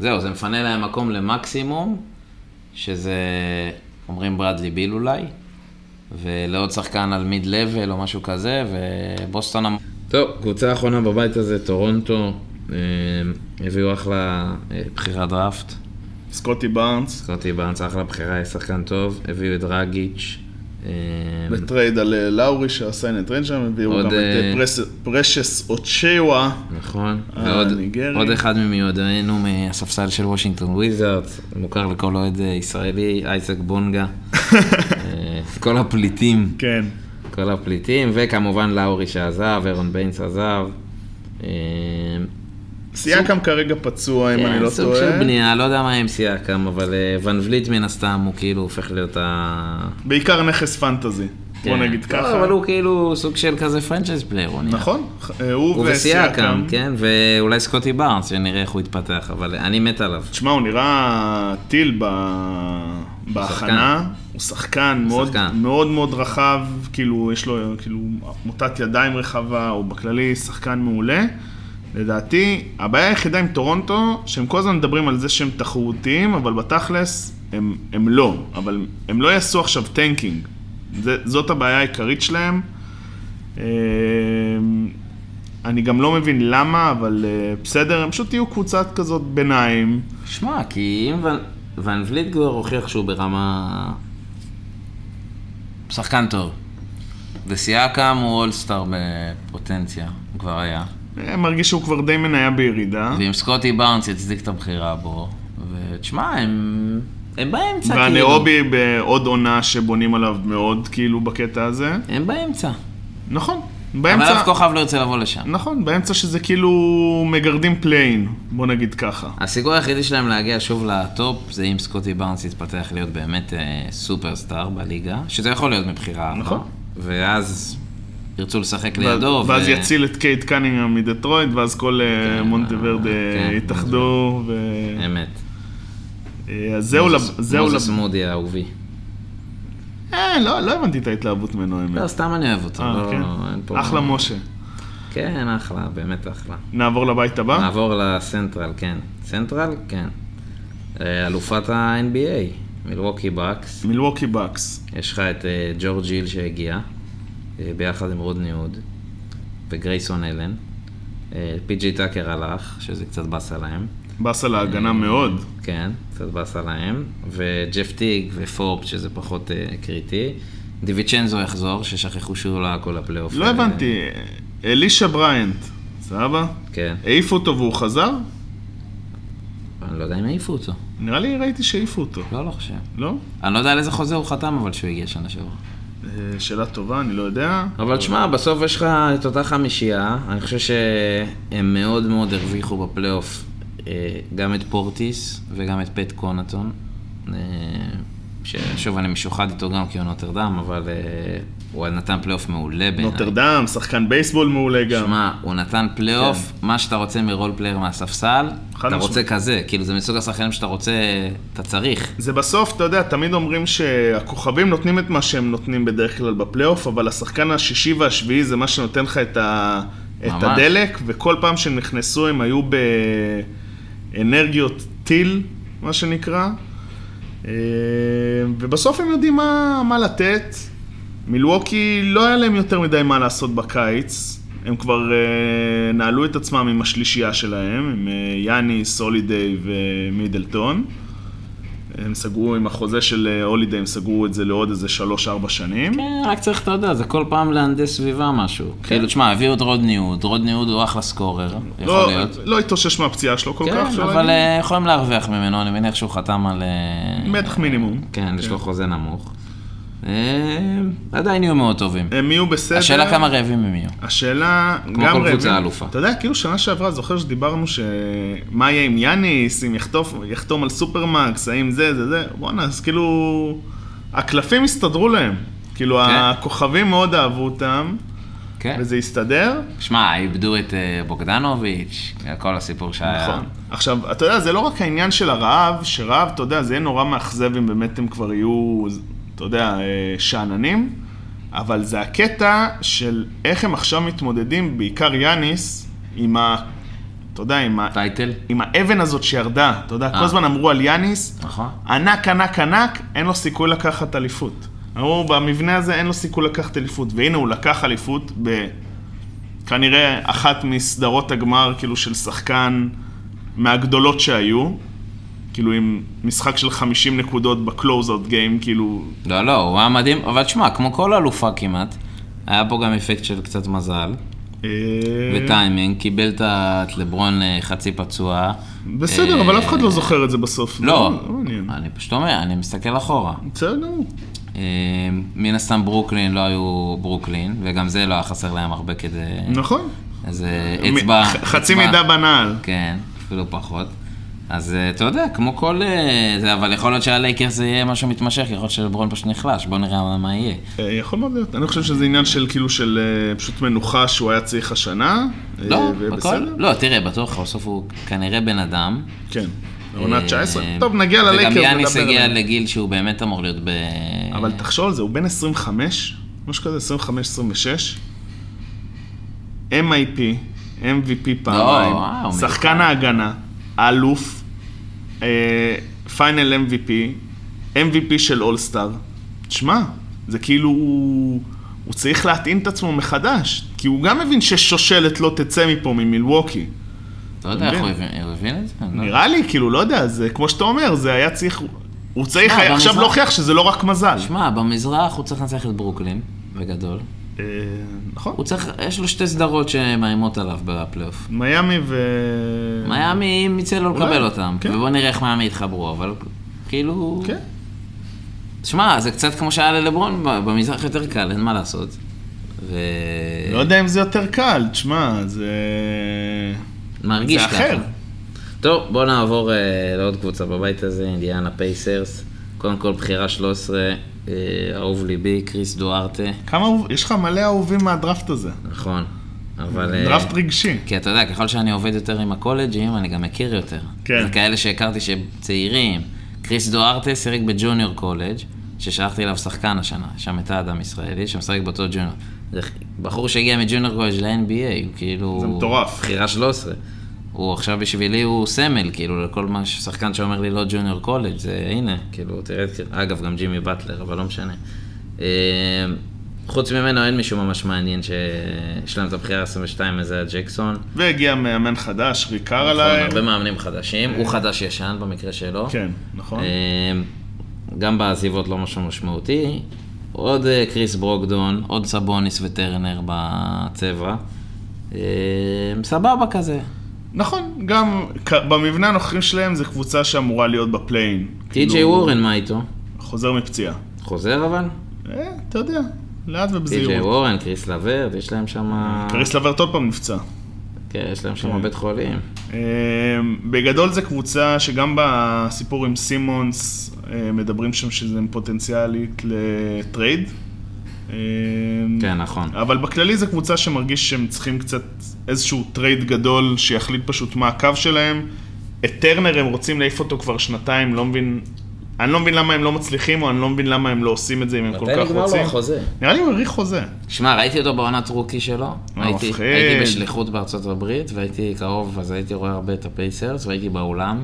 זהו, זה מפנה להם מקום למקסימום, שזה, אומרים ברדלי ביל אולי, ולעוד שחקן על מיד לבל או משהו כזה, ובוסטון... אמ- טוב, קבוצה האחרונה בבית הזה, טורונטו, אה, הביאו אחלה אה, בחירת דראפט,
סקוטי בארנס,
זכרתי בארץ אחלה בחירה, יש שחקן טוב, הביאו את רגיץ', אה,
בטרייד על אה, לאורי שעשה את רנג' שם, הביאו
עוד,
גם את אה,
אה,
פרס- פרשס אוצ'יווה,
נכון, ועוד
הניגרי.
עוד אחד ממיודענו מהספסל של וושינגטון וויזארדס, מוכר לכל אוהד אה, ישראלי, אייסק בונגה, אה, כל הפליטים.
כן,
כל הפליטים, וכמובן לאורי שעזב, אירון ביינס עזב. אה,
סייקם כרגע פצוע אם
כן,
אני לא
סוג של
טועה,
בנייה, לא יודע מה עם סייקם, אבל אה, ון וליט מן הסתם הוא כאילו הופך להיות ה...
בעיקר נכס פנטזי, בוא
כן.
נגיד
לא,
ככה,
אבל הוא כאילו סוג של כזה פרנצ'ייז פלייר, הוא נראה.
נכון, אה, הוא
הוא
וסייקם,
וסייקם, כן, ואולי סקוטי בארנס, שנראה איך הוא יתפתח, אבל אני מת עליו.
תשמע, הוא נראה טיל ב... בהכנה, הוא שחקן מאוד,
שחקן.
מאוד מאוד רחב, כאילו יש לו כאילו מוטת ידיים רחבה, הוא בכללי שחקן מעולה. לדעתי, הבעיה היחידה עם טורונטו, שהם כל הזמן מדברים על זה שהם תחרותיים, אבל בתכלס הם, הם לא, אבל הם לא יעשו עכשיו טנקינג. זה, זאת הבעיה העיקרית שלהם. אה, אני גם לא מבין למה, אבל אה, בסדר, הם פשוט יהיו קבוצה כזאת ביניים.
שמע, כי אם ון- ון וליט כבר הוכיח שהוא ברמה... שחקן טוב. וסייקם הוא אולסטאר בפוטנציה, הוא כבר היה.
אה, מרגיש שהוא כבר די מניה בירידה.
ועם סקוטי בארנס הצדיק את הבחירה בו. ותשמע, הם... הם באמצע, כאילו.
והנאובי בעוד עונה שבונים עליו מאוד, כאילו, בקטע הזה.
הם באמצע.
נכון,
אבל אף
באמצע,
כוכב לא ירצה לבוא לשם.
נכון, באמצע שזה כאילו מגרדים פליין, בוא נגיד ככה.
הסיכוי היחידי שלהם להגיע שוב לטופ זה אם סקוטי בארנס יתפתח להיות באמת אה, סופרסטאר בליגה, שזה יכול להיות מבחירה.
נכון.
אבל- ואז ירצו לשחק לידו.
ואז
ו-
יציל את קייט קנינגהם מדטרויד, ואז כל אה,
כן,
מונטברדה
כן,
יתאחדו. ו-
אמת.
אה, אז זהו, לב- זהו,
מוזס
לב-
מודי האהובי.
אה, לא לא הבנתי את ההתלהבות ממנו, האמת.
לא, סתם אני אוהב אותו.
אה,
לא,
כן.
אין פה-
אחלה משה.
כן, אחלה, באמת אחלה.
נעבור לבית הבא?
אה, נעבור לסנטרל, כן. סנטרל? כן. אה, אלופת ה-NBA. מילווקי בקס.
מילווקי בקס.
יש לך את אה, ג'ורג' היל שהגיע, אה, ביחד עם רודני הוד, וגרייסון אלן. אה, פי.ג'י טאקר הלך, שזה קצת באסה להם.
באסה
אה.
להגנה מאוד.
כן, קצת באסה להם. וג'ף טיג ופורפ, שזה פחות אה, קריטי. דיוויצ'נזו יחזור, ששכחו שהוא לא היה כל הפלייאוף.
לא הבנתי, אלישע בריינט, סבבה?
כן,
העיפו אותו והוא חזר?
אני לא יודע אם העיפו אותו.
נראה לי ראיתי שהעיפו אותו,
לא, לא חושב.
לא?
אני לא יודע על איזה חוזה הוא חתם, אבל שהוא הגיע שנה שעברה.
אה, שאלה טובה, אני לא יודע.
אבל שמע, בסוף יש לך את אותה חמישייה, אני חושב שהם מאוד מאוד הרוויחו בפלייאוף אה, גם את פורטיס וגם את פט קונטון, אה, ששוב, אני משוחד איתו גם כי הוא נוטרדם, אבל אה, הוא נתן פלייאוף מעולה בעיניי.
נוטרדם, שחקן בייסבול מעולה גם. כן.
שמע, הוא נתן פלייאוף, מה שאתה רוצה מרול פלייר מהספסל,
חד
אתה
משמעית.
רוצה כזה, כאילו זה מסוג השחקנים שאתה רוצה, אתה צריך.
זה בסוף, אתה יודע, תמיד אומרים שהכוכבים נותנים את מה שהם נותנים בדרך כלל בפלייאוף, אבל השחקן השישי והשביעי זה מה שנותן לך את, ה... את
ממש.
הדלק, וכל פעם שהם נכנסו הם היו באנרגיות טיל, מה שנקרא, אה, ובסוף הם יודעים מה, מה לתת. מילווקי, לא היה להם יותר מדי מה לעשות בקיץ. הם כבר אה, נעלו את עצמם עם השלישייה שלהם, עם אה, יאני, סולידיי ומידלטון. הם סגרו עם החוזה של אה, הולידיי, הם סגרו את זה לעוד איזה שלוש-ארבע שנים.
כן, רק צריך, אתה יודע, זה כל פעם להנדס סביבה משהו. כאילו, תשמע, הביאו את רוד ניוד, רוד ניוד הוא אחלה סקורר, יכול
כן. לא,
להיות.
לא התאושש מהפציעה שלו כל
כן,
כך. אפשר
אבל
להגיד.
אה, יכולים להרוויח ממנו, אני מניח שהוא חתם על... אה,
מתח מינימום.
כן, יש לו חוזה נמוך. אה, עדיין יהיו מאוד טובים.
כן. הם יהיו בסדר.
השאלה כמה רעבים הם יהיו.
השאלה,
כמו
גם
כל
רעבים.
קבוצה אלופה.
אתה יודע, כאילו שנה שעברה, זוכר שדיברנו ש... מה יהיה עם יאניס, אם יחטוף, יחתום על סופרמקס, האם זה, זה, זה, בואנה, אז כאילו... הקלפים הסתדרו להם. כאילו,
כן.
הכוכבים מאוד אהבו אותם,
כן.
וזה הסתדר.
שמע, איבדו את אה, בוגדנוביץ', כל הסיפור שהיה.
נכון. עכשיו, אתה יודע, זה לא רק העניין של הרעב, שרעב, אתה יודע, זה יהיה נורא מאכזב אם באמת הם כבר יהיו, אתה יודע, אה, שאננים, אבל זה הקטע של איך הם עכשיו מתמודדים, בעיקר יאניס, עם ה... אתה יודע, עם, ה,
טייטל?
עם האבן הזאת שירדה, אתה יודע, כל
אה.
הזמן אמרו על יאניס,
נכון.
ענק, ענק, ענק, אין לו סיכוי לקחת אליפות. אמרו, במבנה הזה אין לו סיכוי לקחת אליפות, והנה הוא לקח אליפות ב... כנראה אחת מסדרות הגמר, כאילו, של שחקן מהגדולות שהיו, כאילו, עם משחק של 50 נקודות בקלוזאוט גיים, כאילו,
לא, לא, הוא היה מדהים, אבל תשמע, כמו כל אלופה כמעט, היה פה גם אפקט של קצת מזל.
אה,
וטיימינג, קיבל את ה- את לברון אה, חצי פצוע.
בסדר,
אה,
אבל אף אחד לא זוכר את זה בסוף.
לא,
מעניין.
אני פשוט אומר, אני מסתכל אחורה.
בסדר גמור.
אה, מן הסתם ברוקלין לא היו ברוקלין, וגם זה לא היה חסר להם הרבה כדי...
נכון.
איזה אצבע.
מ- ח- חצי
אצבע.
מידע בנעל.
כן, אפילו פחות. אז אה, אתה יודע, כמו כל... אה, זה, אבל יכול להיות שהלייקרס זה יהיה משהו מתמשך, יכול להיות שלברון פשוט נחלש, בוא נראה מה- מה יהיה.
אה, יכול מאוד להיות. אני חושב שזה עניין של כאילו של אה, פשוט מנוחה שהוא היה צריך השנה. אה,
לא,
ובסדר.
בכל... לא, תראה, בטוח, בסוף הוא כנראה בן אדם.
כן, עונה
אה,
19. טוב, נגיע ללייקרס.
וגם יאניס
נדבר
הגיע
עליהם.
לגיל שהוא באמת אמור להיות ב...
אבל תחשוב על זה, הוא בן 25, משהו כזה, 25-26. MIP, MVP פעמיים,
וואו, אה, מיוחד.
שחקן ההגנה, האלוף, אה, פיינל MVP, MVP של אולסטאר. תשמע, זה כאילו, הוא- הוא צריך להתאים את עצמו מחדש, כי הוא גם מבין ששושלת לא תצא מפה ממילווקי.
לא יודע איך הוא
מבין?
הבין- הוא הבין את זה? אני לא יודע.
נראה לי, כאילו, לא יודע, זה כמו שאתה אומר, זה היה צריך, הוא צריך
מה,
היה עכשיו
במזרח-
להוכיח שזה לא רק מזל.
אה, שמע, במזרח הוא צריך לנצח את ברוקלין, בגדול.
אה, נכון.
הוא צריך, יש לו שתי סדרות שמאיימות עליו בפלייאוף.
מיאמי ו...
מיאמי, אם יצא לו
אולי,
לקבל אותם,
כן.
ובוא נראה איך מיאמי יתחברו, אבל כאילו...
כן.
שמע, זה קצת כמו שהיה ללברון, ב- במזרח יותר קל, אין מה לעשות. ו... אה.
לא יודע אם זה יותר קל, תשמע, זה...
מרגיש
זה
ככה.
אחר.
טוב, בואו נעבור אה, לעוד קבוצה בבית הזה, אינדיאנה פייסרס. קודם כל, בחירה 13, אה, אהוב ליבי, קריס דוארטה.
כמה אהוב... יש לך מלא אהובים מהדראפט הזה.
נכון, אבל... אה,
דראפט רגשי.
כי אתה יודע, ככל שאני עובד יותר עם הקולג'ים, אני גם מכיר יותר.
כן.
זה כאלה שהכרתי שהם צעירים. קריס דוארטה שיחק בג'וניור קולג', ששלחתי אליו שחקן השנה, שם את האדם ישראלי, שמשחק באותו ג'וניור. זה בחור שהגיע מג'וניור קולג' ל-NBA, הוא כאילו...
זה מטורף.
בחירה 13. הוא- הוא עכשיו בשבילי הוא סמל, כאילו, לכל מה ששחקן שאומר לי לא ג'וניור קולג', זה הנה, כאילו, תראה, את- אגב, גם ג'ימי באטלר, אבל לא משנה. אה, חוץ ממנו אין מישהו ממש מעניין שיש להם את הבחירה 22 איזה ג'קסון.
והגיע מאמן חדש, ריקר
נכון,
עליי.
הרבה מאמנים חדשים, הוא חדש-ישן במקרה שלו.
כן, נכון.
אמ, גם בעזיבות לא משהו משמעותי. עוד אה, קריס ברוקדון, עוד סבוניס וטרנר בצבע. אמ, סבבה כזה.
נכון, גם כ- במבנה הנוכחי שלהם זו קבוצה שאמורה להיות בפליין.
טי.ג'יי
כאילו,
וורן, מה איתו?
חוזר מפציעה.
חוזר אבל?
אה, אתה יודע, לאט
טי.ג'יי
ובזהירות.
וורן, קריס לברד, יש להם שם...
קריס לברט עוד פעם נפצע.
כן, יש להם שם בית חולים.
אה, בגדול זו קבוצה שגם בסיפור עם סימונס אה, מדברים שם שזה פוטנציאלית לטרייד. אה,
כן, נכון.
אבל בכללי זו קבוצה שמרגיש שהם צריכים קצת איזשהו טרייד גדול שיחליט פשוט מה הקו שלהם. את טרנר הם רוצים להעיף אותו כבר שנתיים, לא מבין... אני לא מבין למה הם לא מצליחים, או אני לא מבין למה הם לא עושים את זה אם הם כל כך רוצים. נראה לי הוא האריך חוזה.
שמע, ראיתי אותו בעונת רוקי שלו.
אה,
הייתי,
מפחיד.
הייתי בשליחות בארצות הברית, והייתי קרוב, אז הייתי רואה הרבה את הפייסרס, והייתי באולם.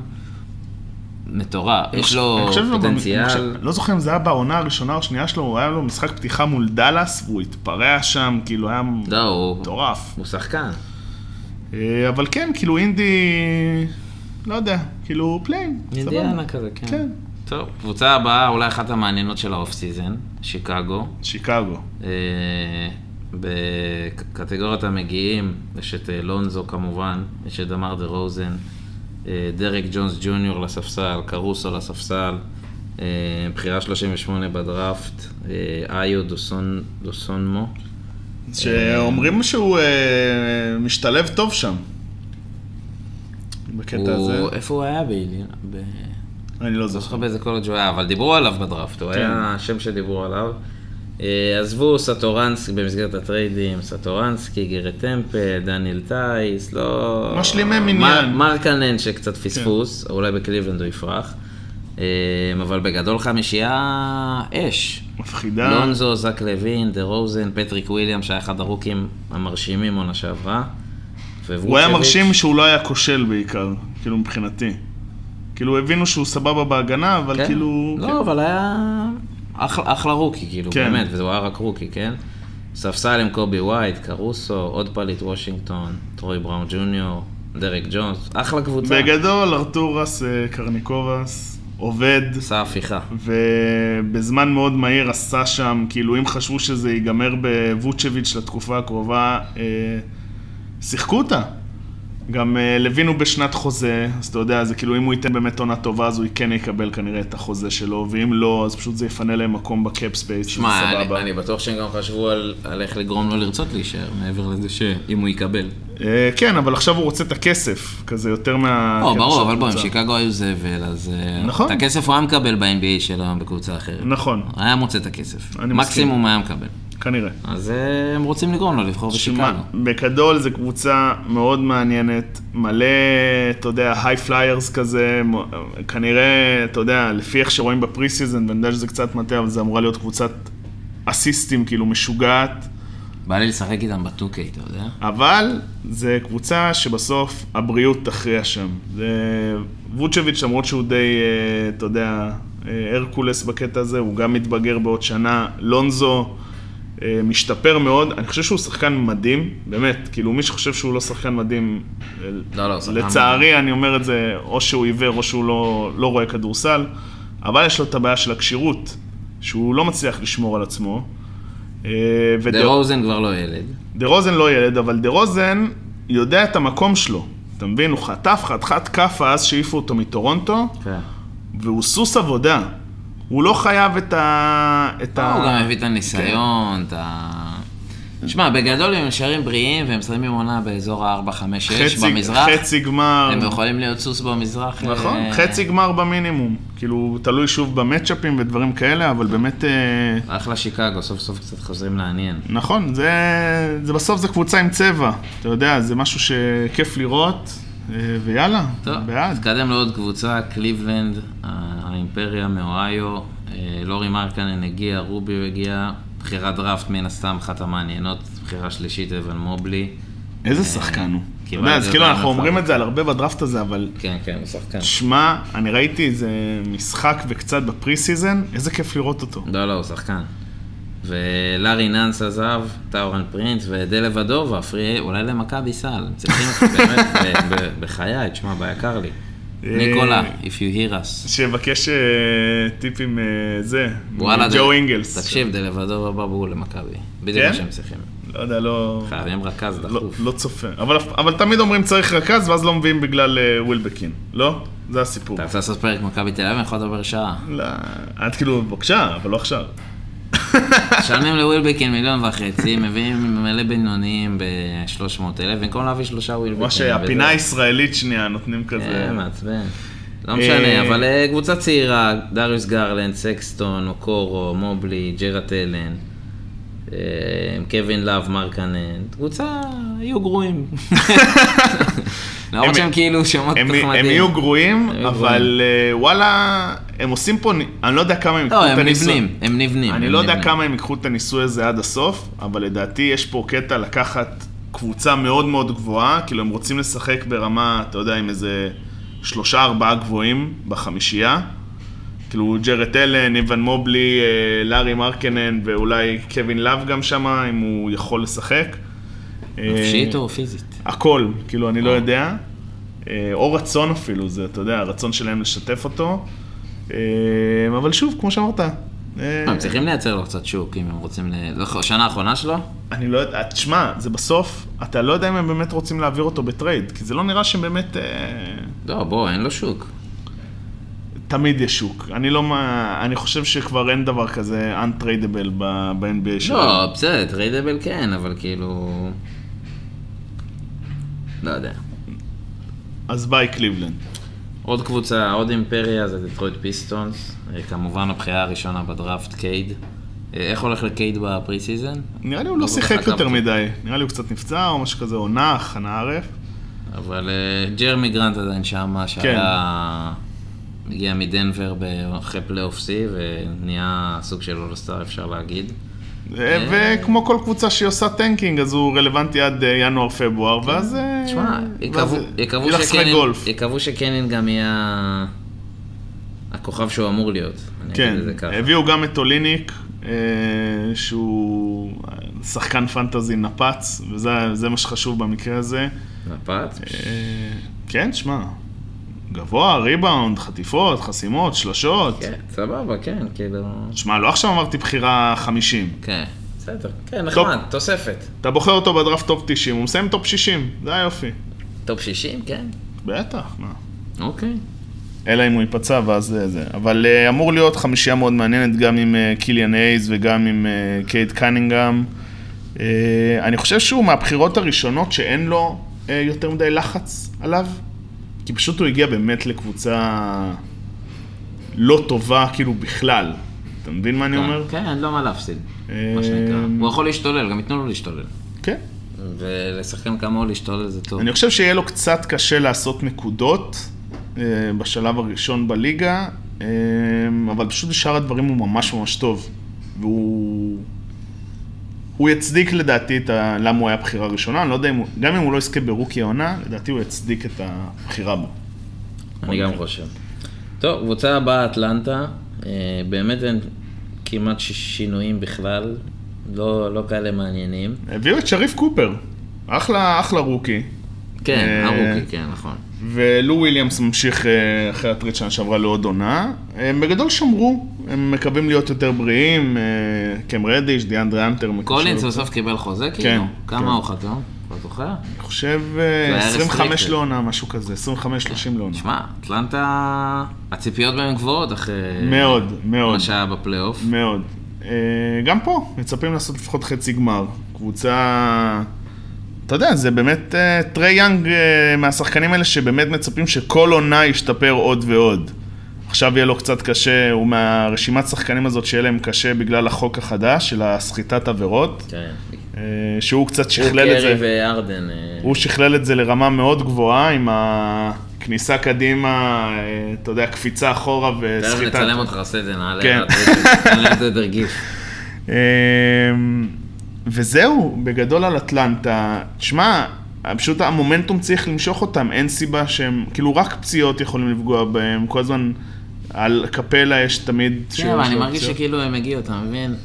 מטורף, יש לו
אני חושב שהוא גם- אני
לא, פוטנציאל.
חושב- לא זוכר אם זה היה בעונה הראשונה או השנייה שלו, הוא היה לו משחק פתיחה מול דאלאס, והוא התפרע שם, כאילו היה
לא, הוא,
מטורף.
הוא שחקן.
אה, אבל כן, כאילו אינדי, לא יודע, כאילו פליין, סבבה.
אינדיאנה כזה, כן.
כן.
טוב, קבוצה הבאה, אולי אחת המעניינות של האוף סיזן, שיקגו.
שיקגו.
אה, בקטגוריית המגיעים, יש את אה, לונזו כמובן, יש את דמר דה רוזן, אה, דרק ג'ונס ג'וניור לספסל, קרוסו לספסל, אה, בחירה 38 בדראפט, אה, איו דוסון, דוסונמו.
שאומרים שהוא אה, משתלב טוב שם. בקטע הזה,
הוא, איפה הוא היה באילין? ב...
אני לא
לא זוכר
זוכר.
באיזה קולג' הוא היה, אבל דיברו עליו בדראפט, הוא
כן.
היה השם שדיברו עליו. אה, עזבו סטורנסקי במסגרת הטריידים, סטורנסקי, גירי טמפל, דניאל טייס, לא...
משלימי
מר-
מניין. כן.
מרקנן שקצת פספוס, אולי בקליבלנד הוא יפרח. אה, אבל בגדול חמישייה אש.
מפחידה.
לונזו, זק לוין, דה רוזן, פטריק וויליאם, שהיה אחד הרוקים המרשימים עונה שעברה.
הוא היה
וווצ'ביץ'.
מרשים שהוא לא היה כושל בעיקר, כאילו מבחינתי. כאילו הבינו שהוא סבבה בהגנה, אבל
כן.
כאילו...
לא, אבל היה אחלה, אחלה רוקי, כאילו,
כן.
באמת, וזה היה רק רוקי, כן? ספסל עם קובי וייט, קרוסו, עוד פליט וושינגטון, טרוי בראון ג'וניור, דרק ג'ונס, אחלה קבוצה.
בגדול, ארתורס אה, קרניקובס עובד,
עשה הפיכה.
ובזמן מאוד מהיר עשה שם, כאילו אם חשבו שזה ייגמר בווצ'ביץ' לתקופה הקרובה, אה, שיחקו אותה. גם אה, לוין הוא בשנת חוזה, אז אתה יודע, זה כאילו אם הוא ייתן באמת עונה טובה, אז הוא כן יקבל כנראה את החוזה שלו, ואם לא, אז פשוט זה יפנה להם מקום בקאפ ספייס, שזה
שמע, אני,
סבבה.
אני בטוח שהם גם חשבו על, על איך לגרום לו לרצות להישאר, מעבר לזה שאם הוא יקבל.
אה, כן, אבל עכשיו הוא רוצה את הכסף, כזה יותר מה...
או,
כן,
לא, ברור,
של
אבל בוא, אם
הקבוצה.
שיקגו היו זבל, אז... אה,
נכון.
את הכסף הוא היה מקבל ב-NBA שלו היום בקבוצה אחרת.
נכון,
היה מוצא את הכסף.
אני מסכים.
מקסימום היה מקבל.
כנראה.
אז אה, הם רוצים לגרום לו לבחור
שמע,
בשיקגו.
בגדול זו קבוצה מאוד מעניינת, מלא, אתה יודע, היי פליירס כזה, מ- כנראה, אתה יודע, לפי איך שרואים בפרי סיזן, ואני יודע שזה קצת מטעה, אבל זו אמורה להיות קבוצת אסיסטים, כאילו משוגעת,
בא לי לשחק איתם בטוקיי, אתה יודע?
אבל זו קבוצה שבסוף הבריאות תכריע שם. זה ווצ'ביץ', למרות שהוא די, אה, אתה יודע, אה, הרקולס בקטע הזה, הוא גם מתבגר בעוד שנה, לונזו. אה, משתפר מאוד, אני חושב שהוא שחקן מדהים, באמת, כאילו מי שחושב שהוא לא שחקן מדהים, אה,
לא, לא, שחקן
לצערי אני אומר את זה, או שהוא עיוור או שהוא לא, לא רואה כדורסל, אבל יש לו את הבעיה של הכשירות, שהוא לא מצליח לשמור על עצמו. אה, ודה-
דה רוזן כבר לא ילד.
דה רוזן לא ילד, אבל דה רוזן יודע את המקום שלו. אתה מבין? הוא חטף חתיכת כאפה אז שהעיפו אותו מטורונטו,
כן.
והוא סוס עבודה. הוא לא חייב את ה... את ה...
לא, הוא גם הביא את הניסיון, את ה... שמע, בגדול הם נשארים בריאים והם מסיימים עונה באזור ה-4-5-6
חצי-
במזרח.
חצי גמר.
הם יכולים להיות סוס במזרח.
נכון,
אה,
חצי גמר במינימום. כאילו, תלוי שוב במצ'אפים ודברים כאלה, אבל באמת... אה,
אחלה שיקגו, סוף סוף קצת חוזרים לעניין.
נכון, זה, זה בסוף זה קבוצה עם צבע. אתה יודע, זה משהו שכיף לראות, אה, ויאללה,
טוב,
בעד.
נתקדם לעוד קבוצה, קליבלנד, ה- האימפריה מאוהיו, אה, לורי מרקנן הגיע, רוביו הגיע, בחירת דראפט מן הסתם אחת המעניינות, בחירה שלישית, אבן מובלי.
איזה שחקן הוא. אתה יודע, אז כאילו אנחנו אומרים את זה על הרבה בדראפט הזה, אבל
כן, כן, הוא שחקן.
שמע, אני ראיתי איזה משחק וקצת בפרי סיזן, איזה כיף לראות אותו.
לא, לא, הוא שחקן. ולארי נאנס עזב, טאורן פרינס ודלבדובה, פרי, אולי למכבי סל, הם צריכים אותך באמת, ב- ב- בחיי, תשמע, ביקר לי.
אה,
ניקולה, if you hear us.
שיבקש אה, טיפים אה, זה,
וואלה,
ג'ו
דל-
אינגלס.
תקשיב, דלבדובה בא בול למכבי. בדיוק
כן?
מה שהם צריכים.
לא יודע, לא...
חייבים רכז
לא,
דחוף.
לא צופה. אבל, אבל תמיד אומרים צריך רכז, ואז לא מביאים בגלל אה, ווילבקין. לא? זה הסיפור.
אתה רוצה לעשות פרק מכבי תל אביב, אני יכול לדבר שעה.
לא, את כאילו, בבקשה, אבל לא עכשיו.
משלמים לווילבקין מיליון וחצי, מביאים מלא בינוניים ב-300 אלף, במקום להביא שלושה ווילבקין.
מה שהפינה הישראלית שנייה נותנים כזה.
זה אה, מעצבן. לא משנה,
אה,
אבל אה, קבוצה צעירה, דריוס גרלנד, סקסטון, אוקורו, מובלי, ג'רד אלן, אה, קווין לאב, מרקנן, קבוצה, יהיו
(laughs)
גרועים.
הם-
למרות שהם כאילו שמות
הם,
נחמדים.
הם יהיו גרועים,
הם יהיו
אבל אה, וואלה, הם עושים פה, נ- אני לא יודע כמה הם
לא,
ייקחו את
הם
הניסוי.
נבנים, הם נבנים.
אני
הם
לא יודע
נבנים.
כמה הם ייקחו את הניסוי הזה עד הסוף, אבל לדעתי יש פה קטע לקחת קבוצה מאוד מאוד גבוהה, כאילו הם רוצים לשחק ברמה, אתה יודע, עם איזה שלושה ארבעה גבוהים בחמישייה. כאילו ג'רד אלן, איוון מובלי, אה, לארי מרקנן ואולי קווין לאב גם שם, אם הוא יכול לשחק. אה,
נפשית או פיזית?
הכל, כאילו, אני לא
אה.
יודע. אה, או רצון אפילו, זה, אתה יודע, הרצון שלהם לשתף אותו. אה, אבל שוב, כמו שאמרת. אה,
הם צריכים לייצר לו קצת שוק, אם הם רוצים ל... לא, שנה האחרונה שלו?
אני לא יודע, תשמע, זה בסוף, אתה לא יודע אם הם באמת רוצים להעביר אותו בטרייד, כי זה לא נראה שהם באמת... אה,
לא, בוא, אין לו שוק.
תמיד יש שוק. אני לא... מה- אני חושב שכבר אין דבר כזה untradeable ב- ב-NBA שלנו.
לא, בסדר, טריידבל כן, אבל כאילו... לא יודע.
אז ביי קליבלנד.
עוד קבוצה, עוד אימפריה, זה דטרויט פיסטונס. אה, כמובן הבחירה הראשונה בדראפט, קייד. אה, איך הולך לקייד בפרי סיזן?
נראה לי הוא לא
לא
שיחק
חשבתי.
יותר מדי. נראה לי הוא קצת נפצע או משהו כזה, או נח, חנה ערף.
אבל אה, ג'רמי גרנט עדיין
כן.
שמה, שהיה... הגיע מדנבר ב- אחרי פלייאוף C, ונהיה סוג של אולסטאר, אפשר להגיד.
אה, וכמו כל קבוצה שהיא עושה טנקינג, אז הוא רלוונטי עד אה, ינואר-פברואר, ואז... אה,
כן. תשמע,
ואז,
יקוו-
אה,
יקוו
ילך לשחק
שקנין-
גולף.
יקוו שקנין גם יהיה הכוכב שהוא אמור להיות. אני אגיד
כן,
את זה ככה.
הביאו גם את אוליניק, אה, שהוא אה, שחקן פנטזי נפץ, וזה זה מה שחשוב במקרה הזה.
נפת?
אה, כן, שמע, גבוה, ריבאונד, חטיפות, חסימות, שלשות.
כן, סבבה, כן, כאילו...
שמע, לא עכשיו אמרתי בחירה 50.
כן, בסדר. כן,
טוב.
נחמד, תוספת.
אתה בוחר אותו בדראפט טופ 90, הוא מסיים טופ 60, זה היופי.
טופ 60, כן.
בטח, מה.
אוקיי.
אלא אם הוא ייפצע ואז זה זה. אבל אה, אמור להיות חמישייה מאוד מעניינת, גם עם אה, קיליאן אייז וגם עם אה, קייד קנינגהם. אה, אני חושב שהוא מהבחירות הראשונות שאין לו אה, יותר מדי לחץ עליו, כי פשוט הוא הגיע באמת לקבוצה לא טובה כאילו בכלל. אתה מבין מה אני אומר?
כן, אין לו מה להפסיד,
אה,
מה שנקרא. הוא יכול להשתולל, גם ייתנו לו להשתולל.
כן.
ולשחקן כמוהו להשתולל זה טוב.
אני חושב שיהיה לו קצת קשה לעשות נקודות אה, בשלב הראשון בליגה, אה, אבל פשוט בשאר הדברים הוא ממש ממש טוב. והוא... הוא יצדיק לדעתי את ה... למה הוא היה בחירה ראשונה, אני לא יודע אם הוא... גם אם הוא לא יזכה ברוקי העונה, לדעתי הוא יצדיק את הבחירה בו.
אני
אוקיי.
גם חושב. טוב, קבוצה הבאה, אטלנטה. אה, באמת אין כמעט ש- שינויים בכלל. לא לא כאלה מעניינים.
הביאו את שריף קופר, אחלה, אחלה רוקי.
כן,
אה,
הרוקי, כן, נכון.
ולו וויליאמס ממשיך אה, אחרי הטריד שנה שעברה לעוד עונה. אה, הם בגדול שמרו, הם מקווים להיות יותר בריאים, אה, קם רדיש, דיאנדרי אנטר. מקשר
קולינס
יותר.
בסוף קיבל חוזה,
כן,
כאילו? כמה
כן.
הוא חתום? אתה זוכר?
אני חושב אה,
זה היה
25
restricted.
לעונה, משהו כזה, 25-30 לעונה.
כן. שמע, אטלנטה, הציפיות בהם גבוהות אחרי...
מאוד, מאוד,
מה שהיה בפלייאוף.
מאוד. אה, גם פה, מצפים לעשות לפחות חצי גמר. קבוצה... אתה יודע, זה באמת אה, טרי יאנג אה, מהשחקנים האלה שבאמת מצפים שכל עונה ישתפר עוד ועוד. עכשיו יהיה לו קצת קשה, הוא מהרשימת שחקנים הזאת שיהיה להם קשה בגלל החוק החדש של הסחיטת עבירות,
כן.
אה, שהוא קצת
הוא
שכלל את זה.
קרי וארדן. אה,
הוא שכלל את זה לרמה מאוד גבוהה עם הכניסה קדימה, אה, אתה יודע, קפיצה אחורה
תכף
וסחיטה.
נצלם אותך, עושה את זה, נעלה
כן.
את זה, נעלה את זה
(laughs)
כן, דרגיף.
אמ, וזהו, בגדול על אטלנטה. תשמע, פשוט המומנטום צריך למשוך אותם, אין סיבה שהם, כאילו רק פציעות יכולים לפגוע בהם, כל הזמן על קפלה יש תמיד...
כן, אבל
שיש
אני
לו
מרגיש
פציעות.
שכאילו הם הגיעו, אתה מבין?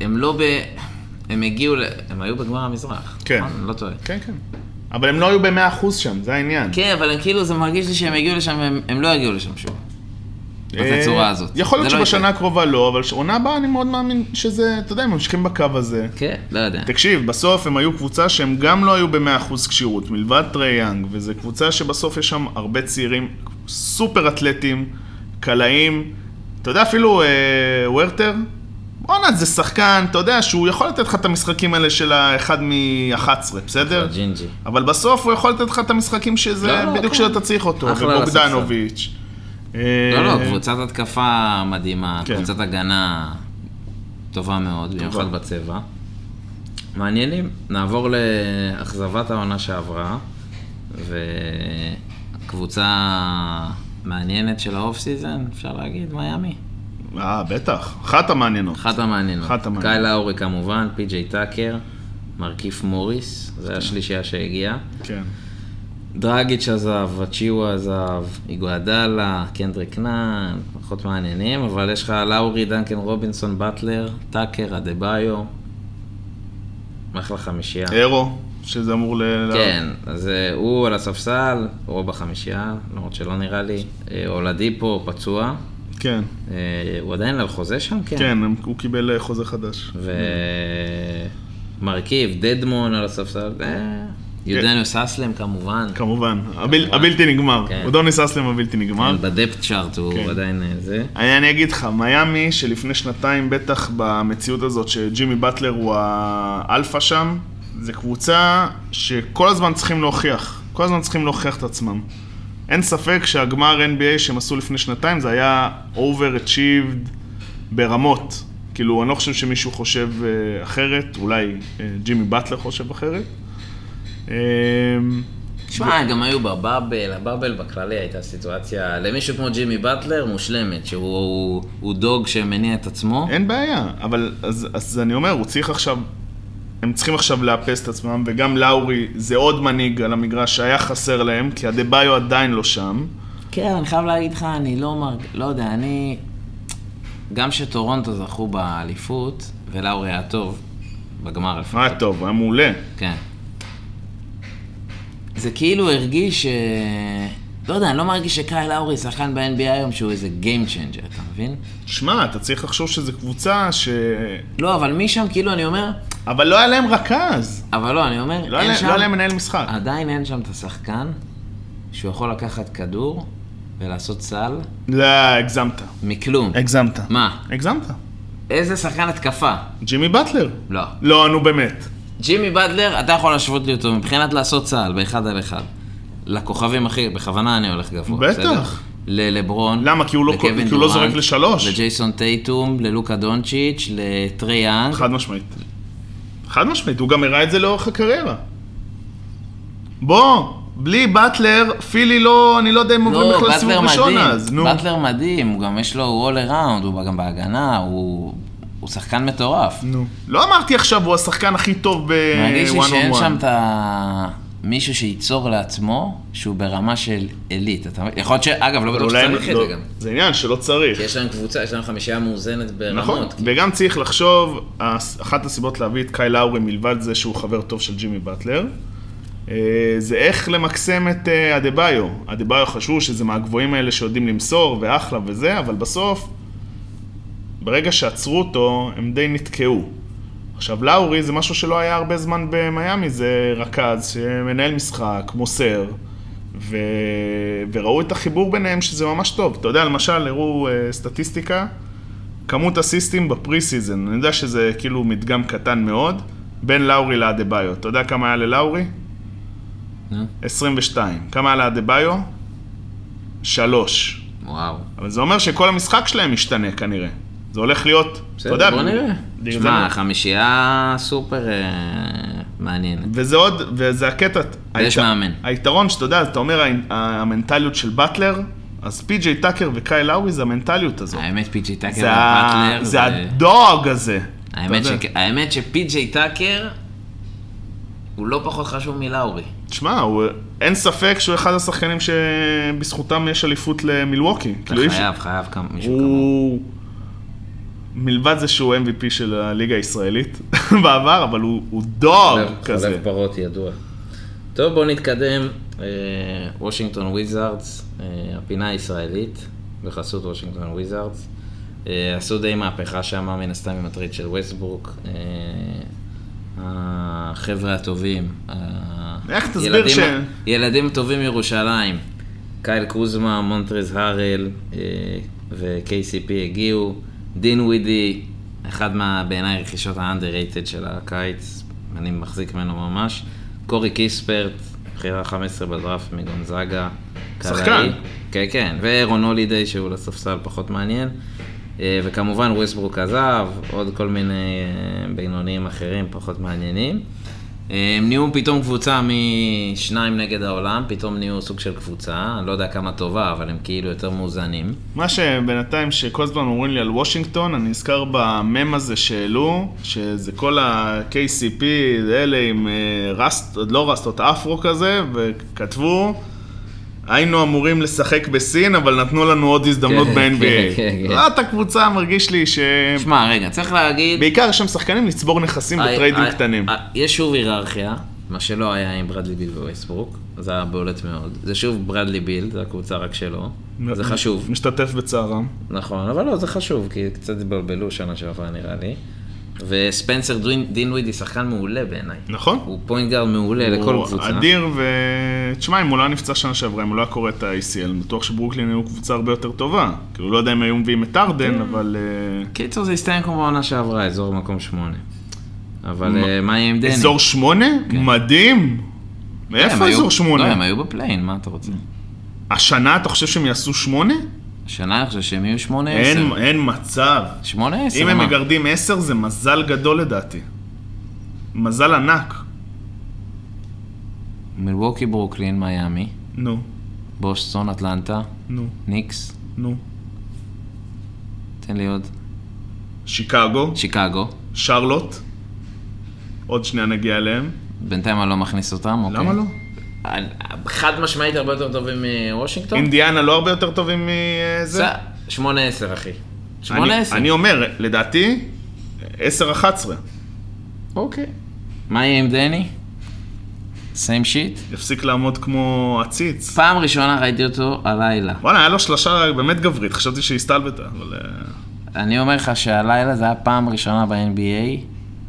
הם לא ב... הם הגיעו, ל- הם היו בגמר המזרח.
כן.
נכון? אני לא טועה.
כן, כן. אבל הם לא היו במאה אחוז שם, זה העניין.
כן, אבל הם כאילו, זה מרגיש לי שהם הגיעו לשם, הם- הם לא יגיעו לשם שוב.
אה,
בתצורה הזאת.
יכול להיות
זה לא
שבשנה
יקרה.
הקרובה לא, אבל עונה הבאה אני מאוד מאמין שזה, אתה יודע, הם ממשיכים בקו הזה.
כן, לא יודע.
תקשיב, בסוף הם היו קבוצה שהם גם לא היו ב-100% כשירות, מלבד טרי יאנג, וזו קבוצה שבסוף יש שם הרבה צעירים סופר אתלטים, קלעים, אתה יודע אפילו אה, ורטר, בואנה זה שחקן, אתה יודע שהוא יכול לתת לך את המשחקים האלה של האחד מ-11, בסדר?
ג'ינג'י.
אבל בסוף הוא יכול לתת לך את המשחקים שזה
לא, לא,
בדיוק
כן.
כשאתה צריך אותו,
אחלה
ובוגדנוביץ'. אה,
לא, לא, קבוצת התקפה מדהימה,
כן. נכון.
קבוצת הגנה טובה מאוד, במיוחד בצבע. מעניינים. נעבור לאכזבת העונה שעברה, וקבוצה מעניינת של האוף סיזן, אפשר להגיד, מיאמי.
אה, בטח, אחת המעניינות.
אחת המעניינות.
אחת המעניינות.
קייל האורי כמובן, פי.ג'יי טאקר, מרכיף מוריס, זו השלישייה שהגיעה.
כן.
דרגיץ' עזב, אצ'יו עזב, איגואדלה, קנדריק נאן, פחות מעניינים, אבל יש לך לאורי, דנקן רובינסון, באטלר, טאקר, אדה-ביו. אחלה חמישייה.
אירו, שזה אמור ל... ל-
כן, אז אה, הוא על הספסל, או בחמישייה, למרות שלא נראה לי. אה, אולדיפו פצוע.
כן.
אה, הוא עדיין על חוזה שם? כן.
כן, הם- הוא קיבל אה, חוזה חדש.
ומרכיב, דדמון על הספסל. אה, יודניוס אסלם כמובן.
כן. כמובן, הבל- הבלתי נגמר.
כן.
אודוניס אסלם הבלתי נגמר.
בדפט צ'ארט
כן.
הוא עדיין אה, זה.
אני אני אגיד לך, מיאמי שלפני שנתיים, בטח במציאות הזאת שג'ימי באטלר הוא האלפא שם, זו קבוצה שכל הזמן צריכים להוכיח. כל הזמן צריכים להוכיח את עצמם. אין ספק שהגמר NBA שהם עשו לפני שנתיים זה היה overachieved ברמות. כאילו, אני לא חושב שמישהו חושב אה, אחרת, אולי אה, ג'ימי באטלר חושב אחרת. אה,
תשמע, גם היו בבאבל, הבאבל בכללי הייתה סיטואציה למישהו כמו ג'ימי באטלר מושלמת, שהוא הוא, הוא דוג שמניע את עצמו.
אין בעיה, אבל אז, אז אני אומר, הוא צריך עכשיו, הם צריכים עכשיו לאפס את עצמם, וגם לאורי זה עוד מנהיג על המגרש שהיה חסר להם, כי הדה ביו עדיין לא שם.
כן, אני חייב להגיד לך, אני לא מרג... לא יודע, אני... גם שטורונטו זכו באליפות, ולאורי היה טוב, בגמר לפחות.
מה טוב, הוא היה מעולה.
כן. זה כאילו הרגיש... אה, לא יודע, אני לא מרגיש שקייל האורי שחקן ב-NBA היום שהוא איזה Game Changer, אתה מבין?
שמע, אתה צריך לחשוב שזו קבוצה ש...
לא, אבל משם, כאילו, אני אומר...
אבל לא היה להם רכז.
אבל לא, אני אומר...
לא
אין
היה להם-
שם-
לא היה להם מנהל משחק.
עדיין אין שם את השחקן שהוא יכול לקחת כדור ולעשות סל
לא, הגזמת.
מכלום.
הגזמת.
מה?
הגזמת.
איזה שחקן התקפה?
ג'ימי באטלר.
לא.
לא, נו באמת.
ג'ימי בדלר, אתה יכול להשוות לי אותו מבחינת לעשות סל באחד על אחד. לכוכבים הכי, בכוונה אני הולך גבוה,
בטח.
בסדר? ללברון,
למה? כי הוא לא-
לקווין
כי הוא לא
דורנט,
זורק לשלוש.
לג'ייסון טייטום, ללוקה דונצ'יץ', לטרי יאנג.
חד משמעית. חד משמעית, הוא גם הראה את זה לאורך הקריירה. בוא, בלי באטלר, פילי לא, אני לא יודע אם עוברים
לא,
בכלל סיבוב
באטלר
ראשון
מדהים,
אז, נו.
באטלר מדהים, הוא גם יש לו, הוא all around, הוא גם בהגנה, הוא הוא שחקן מטורף.
נו. לא אמרתי עכשיו, הוא השחקן הכי טוב
מרגיש לי שאין
ב-one on
שם
one.
את ה... מישהו שייצור לעצמו שהוא ברמה של עילית. אתה... מבין? יכול להיות ש... אגב, לא בטוח שצריך את
לא-
זה גם.
זה עניין שלא צריך.
כי יש להם קבוצה, יש להם חמישייה מאוזנת ברמות. כן.
נכון, וגם צריך לחשוב, הס- אחת הסיבות להביא את קאי לאורי מלבד זה שהוא חבר טוב של ג'ימי באטלר, אה, זה איך למקסם את אה, אדה-ביו. אדה-ביו חשבו שזה מהגבוהים האלה שיודעים למסור ואחלה וזה, אבל בסוף, ברגע שעצרו אותו, הם די נתקעו. עכשיו, לאורי זה משהו שלא היה הרבה זמן במיאמי, זה רכז שמנהל משחק, מוסר, ו... וראו את החיבור ביניהם שזה ממש טוב. אתה יודע, למשל, הראו אה, סטטיסטיקה, כמות אסיסטים בפרי סיזן, אני יודע שזה כאילו מדגם קטן מאוד, בין לאורי לאדה-ביו. אתה יודע כמה היה ללאורי?
נו,
22. כמה היה לאדה-ביו? 3.
וואו.
אבל זה אומר שכל המשחק שלהם משתנה כנראה. זה הולך להיות, אתה יודע...
בסדר, בוא נראה.
זה-
תשמע, חמישייה סופר אה, מעניינת.
וזה עוד, וזה הקטע.
ויש
היתר-
מאמן.
היתרון שאתה יודע, אתה אומר ה- המנטליות של באטלר, אז פי.ג'יי טאקר וקאי לאורי זה המנטליות הזו.
האמת, פי.ג'יי טאקר
זה ה-
ובטלר.
זה הדוג הזה.
האמת
אתה יודע.
ש- האמת שפי.ג'יי טאקר הוא לא פחות חשוב מלאורי.
תשמע, הוא- אין ספק שהוא אחד השחקנים שבזכותם יש אליפות למילווקי.
אתה
כאילו, אי אפשר-
חייב, חייב כמה- מישהו כמוהו.
הוא... מלבד זה שהוא MVP של הליגה הישראלית (laughs) בעבר, אבל הוא, הוא דוג
חלב-
כזה.
חלב פרות ידוע. טוב, בואו נתקדם. אה, וושינגטון וויזארדס, אה, הפינה הישראלית, בחסות וושינגטון וויזארדס. אה, עשו די מהפכה שם, מן הסתם עם הטריד של ווסטברוק. אה, החבר'ה הטובים. ה-
איך תסביר
ילדים-
ש-
ילדים טובים ירושלים. קייל קוזמה, מונטרז הארל אה, ו-KCP הגיעו. דין ווידי, אחד מה- בעיניי הרכישות האנדררייטד של הקיץ, אני מחזיק ממנו ממש. קורי קיספרט, בחירה 15 בדראפט מגונזאגה.
שחקן.
קלעי. כן, כן. ואירון הולידיי שהוא לספסל פחות מעניין. אה, וכמובן ווסטברוק עזב, עוד כל מיני אה, בינוניים אחרים פחות מעניינים. אה, הם נהיו פתאום קבוצה משניים נגד העולם, פתאום נהיו סוג של קבוצה, אני לא יודע כמה טובה, אבל הם כאילו יותר מאוזנים.
מה שבינתיים שכל הזמן אומרים לי על וושינגטון, אני נזכר במם הזה שהעלו, שזה כל ה-KCP, אלה עם אה, רסט, עוד לא רסטות, אפרו כזה, וכתבו, היינו אמורים לשחק בסין, אבל נתנו לנו עוד הזדמנות
כן,
ב-NBA.
כן, כן.
זאת הקבוצה, מרגיש לי ש...
שמע, רגע, צריך להגיד...
בעיקר יש שם שחקנים לצבור נכסים בטריידים
אה,
קטנים.
אה, יש שוב היררכיה, מה שלא היה עם ברדלי ביל ווייסברוק, זה היה בולט מאוד. זה שוב ברדלי ביל, זה הקבוצה רק שלו, אה,
נכון.
זה חשוב.
משתתף בצערם.
נכון, אבל לא, זה חשוב, כי קצת התבלבלו שנה שעברה נראה לי. וספנסר דין- דינווידי שחקן מעולה בעיניי.
נכון.
הוא פוינט גארד מעולה לכל
הוא
קבוצה.
אדיר, ו... תשמע, אם הוא לא היה נפצע שנה שעברה, אם הוא לא היה קורא את ה-ACL, אני בטוח שברוקלין היו קבוצה הרבה יותר טובה. כאילו, לא יודע אם היו מביאים את
כן.
ארדן, אבל... אה,
קיצור, זה הסתיים כמו בעונה שעברה, אזור מקום שמונה. אבל אה, מה יהיה עם דני? כן.
אזור שמונה? מדהים!
הם
מאיפה
היו-
אזור
לא,
שמונה?
הם היו בפליין, מה אתה רוצה?
השנה אתה חושב שהם יעשו שמונה?
השנה אני חושב שהם יהיו שמונה עשר.
אין אין מצב.
שמונה עשר,
אם הם
מה?
מגרדים עשר זה מזל גדול לדעתי. מזל ענק.
מילווקי, ברוקלין, מיאמי,
נו,
בוסטון, אטלנטה,
נו,
ניקס,
נו.
תן לי עוד,
שיקגו,
שיקגו,
שרלוט, עוד שנייה נגיע אליהם.
בינתיים אני לא מכניס אותם, אוקיי.
למה לא?
אה, חד משמעית הרבה יותר אה, טובים מוושינגטון?
אינדיאנה לא הרבה יותר טובים מזה?
זה- שמונה עשר, אחי.
אני-
שמונה עשר.
אני אומר, לדעתי, 10-11.
אוקיי. מה יהיה עם דני? סיים שיט?
יפסיק לעמוד כמו עציץ.
פעם ראשונה ראיתי אותו הלילה.
וואלה, היה לו שלושה באמת גברית, חשבתי שהיא הסתלבטה, אבל... אה,
אני אומר לך שהלילה זה היה פעם ראשונה ב-NBA,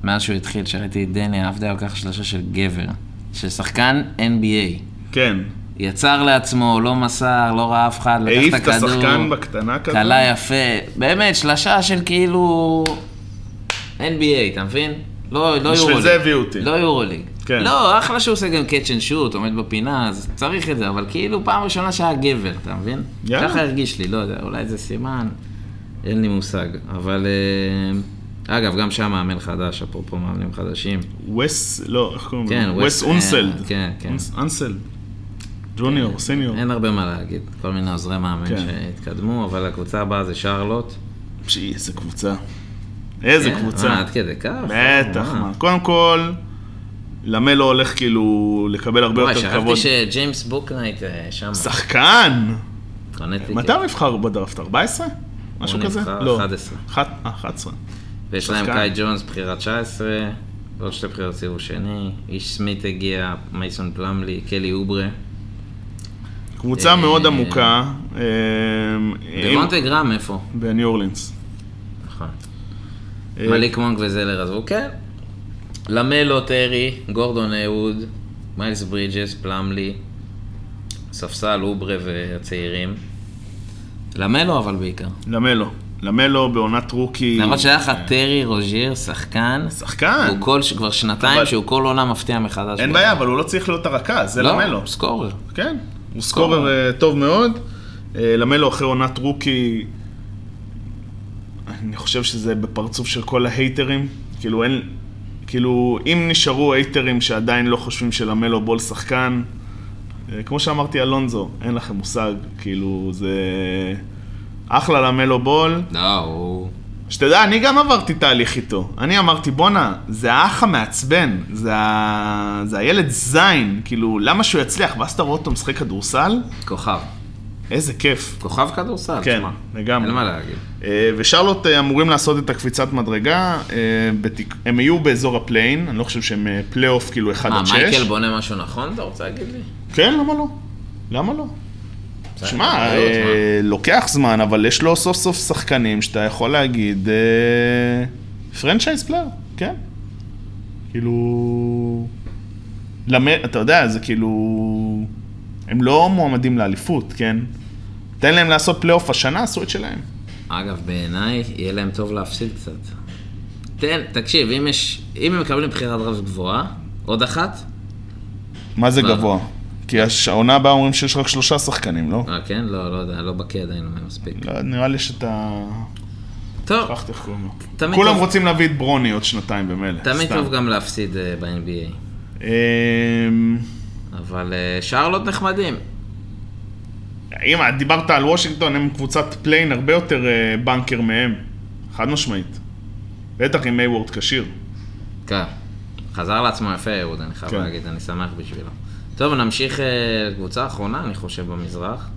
מאז שהוא התחיל, שראיתי את דני עבדה על כך שלושה של גבר. של שחקן NBA.
כן.
יצר לעצמו, לא מסר, לא ראה אף אחד,
העיף
לקח
את
את הכדור.
השחקן בקטנה כזה.
קלה יפה. באמת, שלשה של כאילו... NBA, אתה מבין? לא, לא יורו
בשביל זה הביאו אותי.
לא יורוליג.
כן.
לא, אחלה שהוא עושה גם catch and shoot, עומד בפינה, אז צריך את זה, אבל כאילו פעם ראשונה שהיה גבר, אתה מבין?
יאללה.
ככה הרגיש לי, לא יודע, אולי זה סימן, אין לי מושג. אבל... אה, אגב, גם שם מאמן חדש, אפרופו מאמנים חדשים.
וס, לא, איך קוראים לו?
כן, וס-
וס אונסלד.
אה, כן, כן.
אונס- אונסלד. ג'וניור, סיניור.
אין הרבה מה להגיד, כל מיני עוזרי מאמן
כן.
שהתקדמו, אבל הקבוצה הבאה זה שרלוט.
פשי, איזה קבוצה. איזה
אה,
קבוצה.
אה, עד כדי כך?
בטח,
אה,
מה. קודם כל, למלו הולך כאילו לקבל הרבה
וואי,
יותר
שכחתי
כבוד.
שג'יימס בוקנייט אה, שם.
שחקן!
קונטיקט.
מתי הוא נבחר בדראפט? 14? משהו
הוא
כזה?
נבחר
לא.
11.
אחת- אה, 11.
ויש להם
שחקן.
קאי ג'ונס, בחירה 19, ועוד שתי בחירות סיבוב שני, איש סמית הגיע, מייסון פלמלי, קלי אוברה.
קבוצה
אה,
מאוד עמוקה. אה, עם-
דמונטה גרם איפה?
בניו אורלינס.
נכון.
אה,
מליק מונק וזלר עזבו, כן. למלו, טרי, גורדון אהוד, מיילס ברידג'ס, פלמלי, ספסל, אוברה והצעירים. למלו אבל בעיקר.
למלו. למלו בעונת רוקי.
למרות שהיה לך
אה.
טרי רוז'יר, שחקן,
שחקן.
הוא כל, ש- כבר שנתיים
כן. אבל-
שהוא כל עונה מפתיע מחדש.
אין בעיה, אבל הוא לא צריך להיות הרכז, זה
לא,
למלו.
סקורר.
כן, הוא סקורר אה, טוב מאוד. אה, למלו אחרי עונת רוקי, אני חושב שזה בפרצוף של כל ההייטרים. כאילו אין, כאילו אם נשארו הייטרים שעדיין לא חושבים שלמלו בול שחקן, אה, כמו שאמרתי אלונזו, אין לכם מושג, כאילו זה אחלה למלו בול.
לא, הוא...
שתדע, אני גם עברתי תהליך איתו. אני אמרתי, בואנה, זה האח המעצבן, זה, ה... זה הילד זין, כאילו, למה שהוא יצליח? ואז אתה רואה אותו משחק כדורסל?
כוכב.
איזה כיף.
כוכב כדורסל,
כן,
תשמע.
לגמרי.
אין מה להגיד.
אה, ושרלוט אה, אמורים לעשות את הקפיצת מדרגה, אה, בתק... הם יהיו באזור הפליין, אני לא חושב שהם אה, פלייאוף כאילו 1
מה,
עד 6.
אה, מייקל בונה משהו נכון, אתה רוצה להגיד לי?
כן, למה לא? למה לא?
בסדר,
שמע,
בריאות,
אה, לוקח זמן, אבל יש לו סוף סוף שחקנים שאתה יכול להגיד פרנצ'ייז פלייר, כן. כאילו... למד, אתה יודע, זה כאילו... הם לא מועמדים לאליפות, כן? תן להם לעשות פלייאוף השנה, עשו את שלהם.
מה? אגב, בעיניי, יהיה להם טוב להפסיד קצת. תן, תקשיב, אם יש, אם הם מקבלים בחירת רב גבוהה, עוד אחת?
מה זה
מה?
גבוה? כי הש- העונה הבאה אומרים שיש רק שלושה שחקנים, לא?
אה, כן? לא, לא יודע, לא בקיא עדיין מספיק.
לא, נראה לי שאתה...
טוב,
שכחת איך קוראים
תמיד
לו. כולם
טוב.
רוצים להביא את ברוני עוד שנתיים במילא.
תמיד
סתם.
טוב גם להפסיד אה, ב-NBA.
אמ,
אבל אה, שרלוט נחמדים.
אם דיברת על וושינגטון, הם קבוצת פליין הרבה יותר אה, בנקר מהם, חד משמעית. בטח עם מייוורד כשיר.
כן. חזר לעצמו יפה, אהוד, אני חייב
כן.
להגיד, אני שמח בשבילו. טוב, נמשיך אה, לקבוצה האחרונה, אני חושב, במזרח.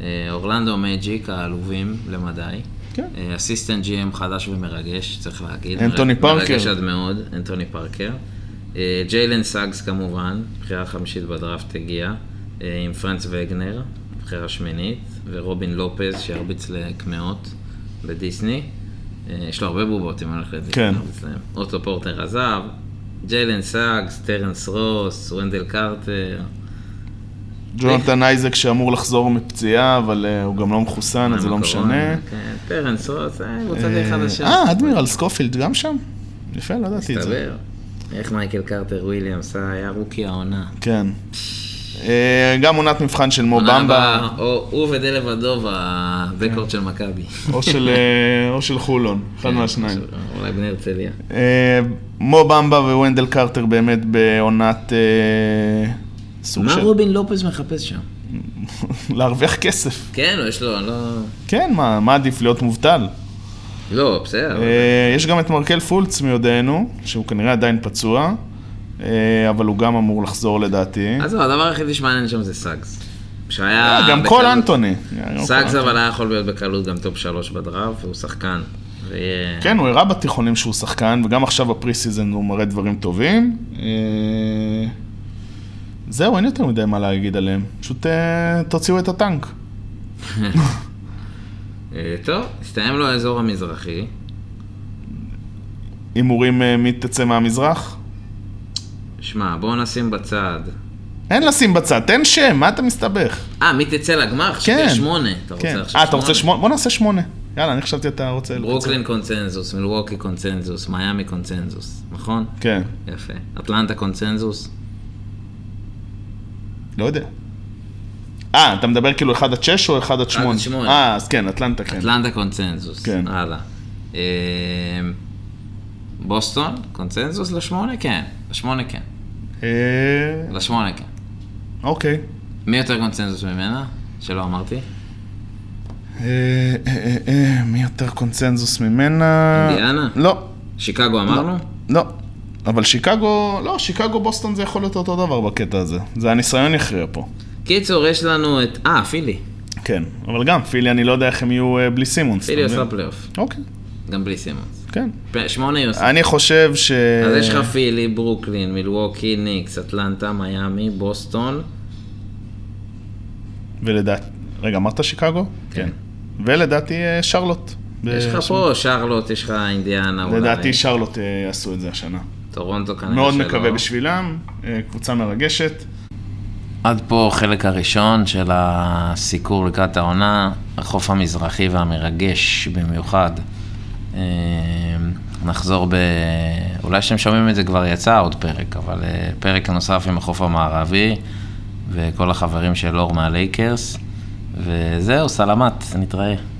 אה, אורלנדו מג'יק, העלובים למדי.
כן.
אה, אסיסטנט GM חדש ומרגש, צריך להגיד.
אנטוני
מר-
פארקר.
מרגש עד מאוד, אנטוני פארקר. אה, ג'יילן סאגס כמובן, בחירה חמישית בדראפט הגיעה, אה, עם פרנץ וגנר, בחירה שמינית, ורובין לופז שירביץ לקמעות בדיסני. אה, יש לו הרבה בובות אם אני הולך לדיסני.
כן.
ירביץ להם. אוטו פורטר עזב, ג'יילן סאגס, טרנס רוס, ונדל קרטר.
אה, ג'ונתן אייזק שאמור לחזור מפציעה, אבל אה, הוא גם לא מחוסן, אז זה לא משנה.
הקורונה, כן, טרנס רוס, אה, קבוצה די חדשה.
אה, אדמירל סקופילד גם שם? יפה, לא ידעתי את זה.
מסתבר. איך מייקל קרטר וויליאמס אה, היה רוקי העונה.
כן. אה, גם עונת מבחן של מו
עונה
במבה,
הבאה, או- הוא ודלבדוב, הבקורד של מכבי.
או של, אה, או של חולון, אחד
כן,
מהשניים.
אולי בני הרצליה.
אה, מו במבה וונדל קרטר באמת בעונת אה, סוג
מה
של...
רובין לופז מחפש שם?
(laughs) להרוויח כסף.
כן, יש לו, לא...
כן, מה, מה עדיף להיות מובטל?
לא, בסדר.
אה, יש גם את מרקל פולץ מיודענו, שהוא כנראה עדיין פצוע, אה, אבל הוא גם אמור לחזור לדעתי.
אז זהו, הדבר היחידי שמעניין שם זה סאגס. שהיה...
אה, גם
בקלות-
קול אנטוני.
סאגס אבל היה יכול להיות בקלות גם טופ שלוש בדראפט, והוא שחקן. ויהיה-
כן, הוא הראה בתיכונים שהוא שחקן, וגם עכשיו בפרי סיזן הוא מראה דברים טובים. אה, זהו, אין יותר מדי מה להגיד עליהם. פשוט אה, תוציאו את הטנק.
אה, טוב, הסתיים לו האזור המזרחי.
הימורים אה, מי תצא מהמזרח?
שמע, בואו נשים בצד.
אין לשים בצד, תן שם, מה אתה מסתבך?
אה, מי תצא לגמר?
כן.
חשבתי שמונה. אתה רוצה
כן.
עכשיו שמונה?
אה, אתה רוצה שמונה? בוא נעשה שמונה. יאללה, אני חשבתי אתה רוצה...
ברוקלין קונצנזוס, מילווקי קונצנזוס, מיאמי קונצנזוס, נכון?
כן,
יפה. אטלנטה קונצנזוס?
לא יודע. אה, אתה מדבר כאילו 1 עד 6 או 1 עד 8?
שמונה.
אה, אז כן, אטלנטה כן.
אטלנטה קונצנזוס.
כן.
הלאה. אמ, בוסטון? קונצנזוס לשמונה? כן. לשמונה כן.
אה,
לשמונה כן.
אוקיי.
מי יותר קונצנזוס ממנה? שלא אמרתי.
אה, אה, אה, אה, מי יותר קונצנזוס ממנה?
אינדיאנה?
לא,
שיקגו אמרנו?
לא. אבל שיקגו, לא, שיקגו בוסטון זה יכול להיות אותו דבר בקטע הזה. זה הניסיון יכריע פה.
קיצור, יש לנו את... אה, פילי.
כן, אבל גם, פילי, אני לא יודע איך הם יהיו אה, בלי סימונס.
פילי
אתה מבין?
עושה פלייאוף.
אוקיי,
גם בלי סימונס.
כן.
פ- שמונה היא עושה.
אני חושב ש...
אז יש לך פילי, ברוקלין, מילווקי, ניקס, אטלנטה, מיאמי, בוסטון.
ולדעתי... רגע, אמרת שיקגו?
כן.
ולדעתי אה, שרלוט.
יש לך
ב-
פה שרלוט, יש לך אינדיאנה אולי.
לדעתי שרלוט אה, עשו את זה השנה.
טורונטו כנראה
מאוד
שלא.
מקווה בשבילם, אה, קבוצה מרגשת.
עד פה החלק הראשון של הסיקור לקראת העונה, החוף המזרחי והמרגש במיוחד. אה, נחזור ב... אולי שאתם שומעים את זה כבר יצא עוד פרק, אבל אה, פרק נוסף עם החוף המערבי וכל החברים של אור מהלייקרס. וזהו, סלמת, נתראה.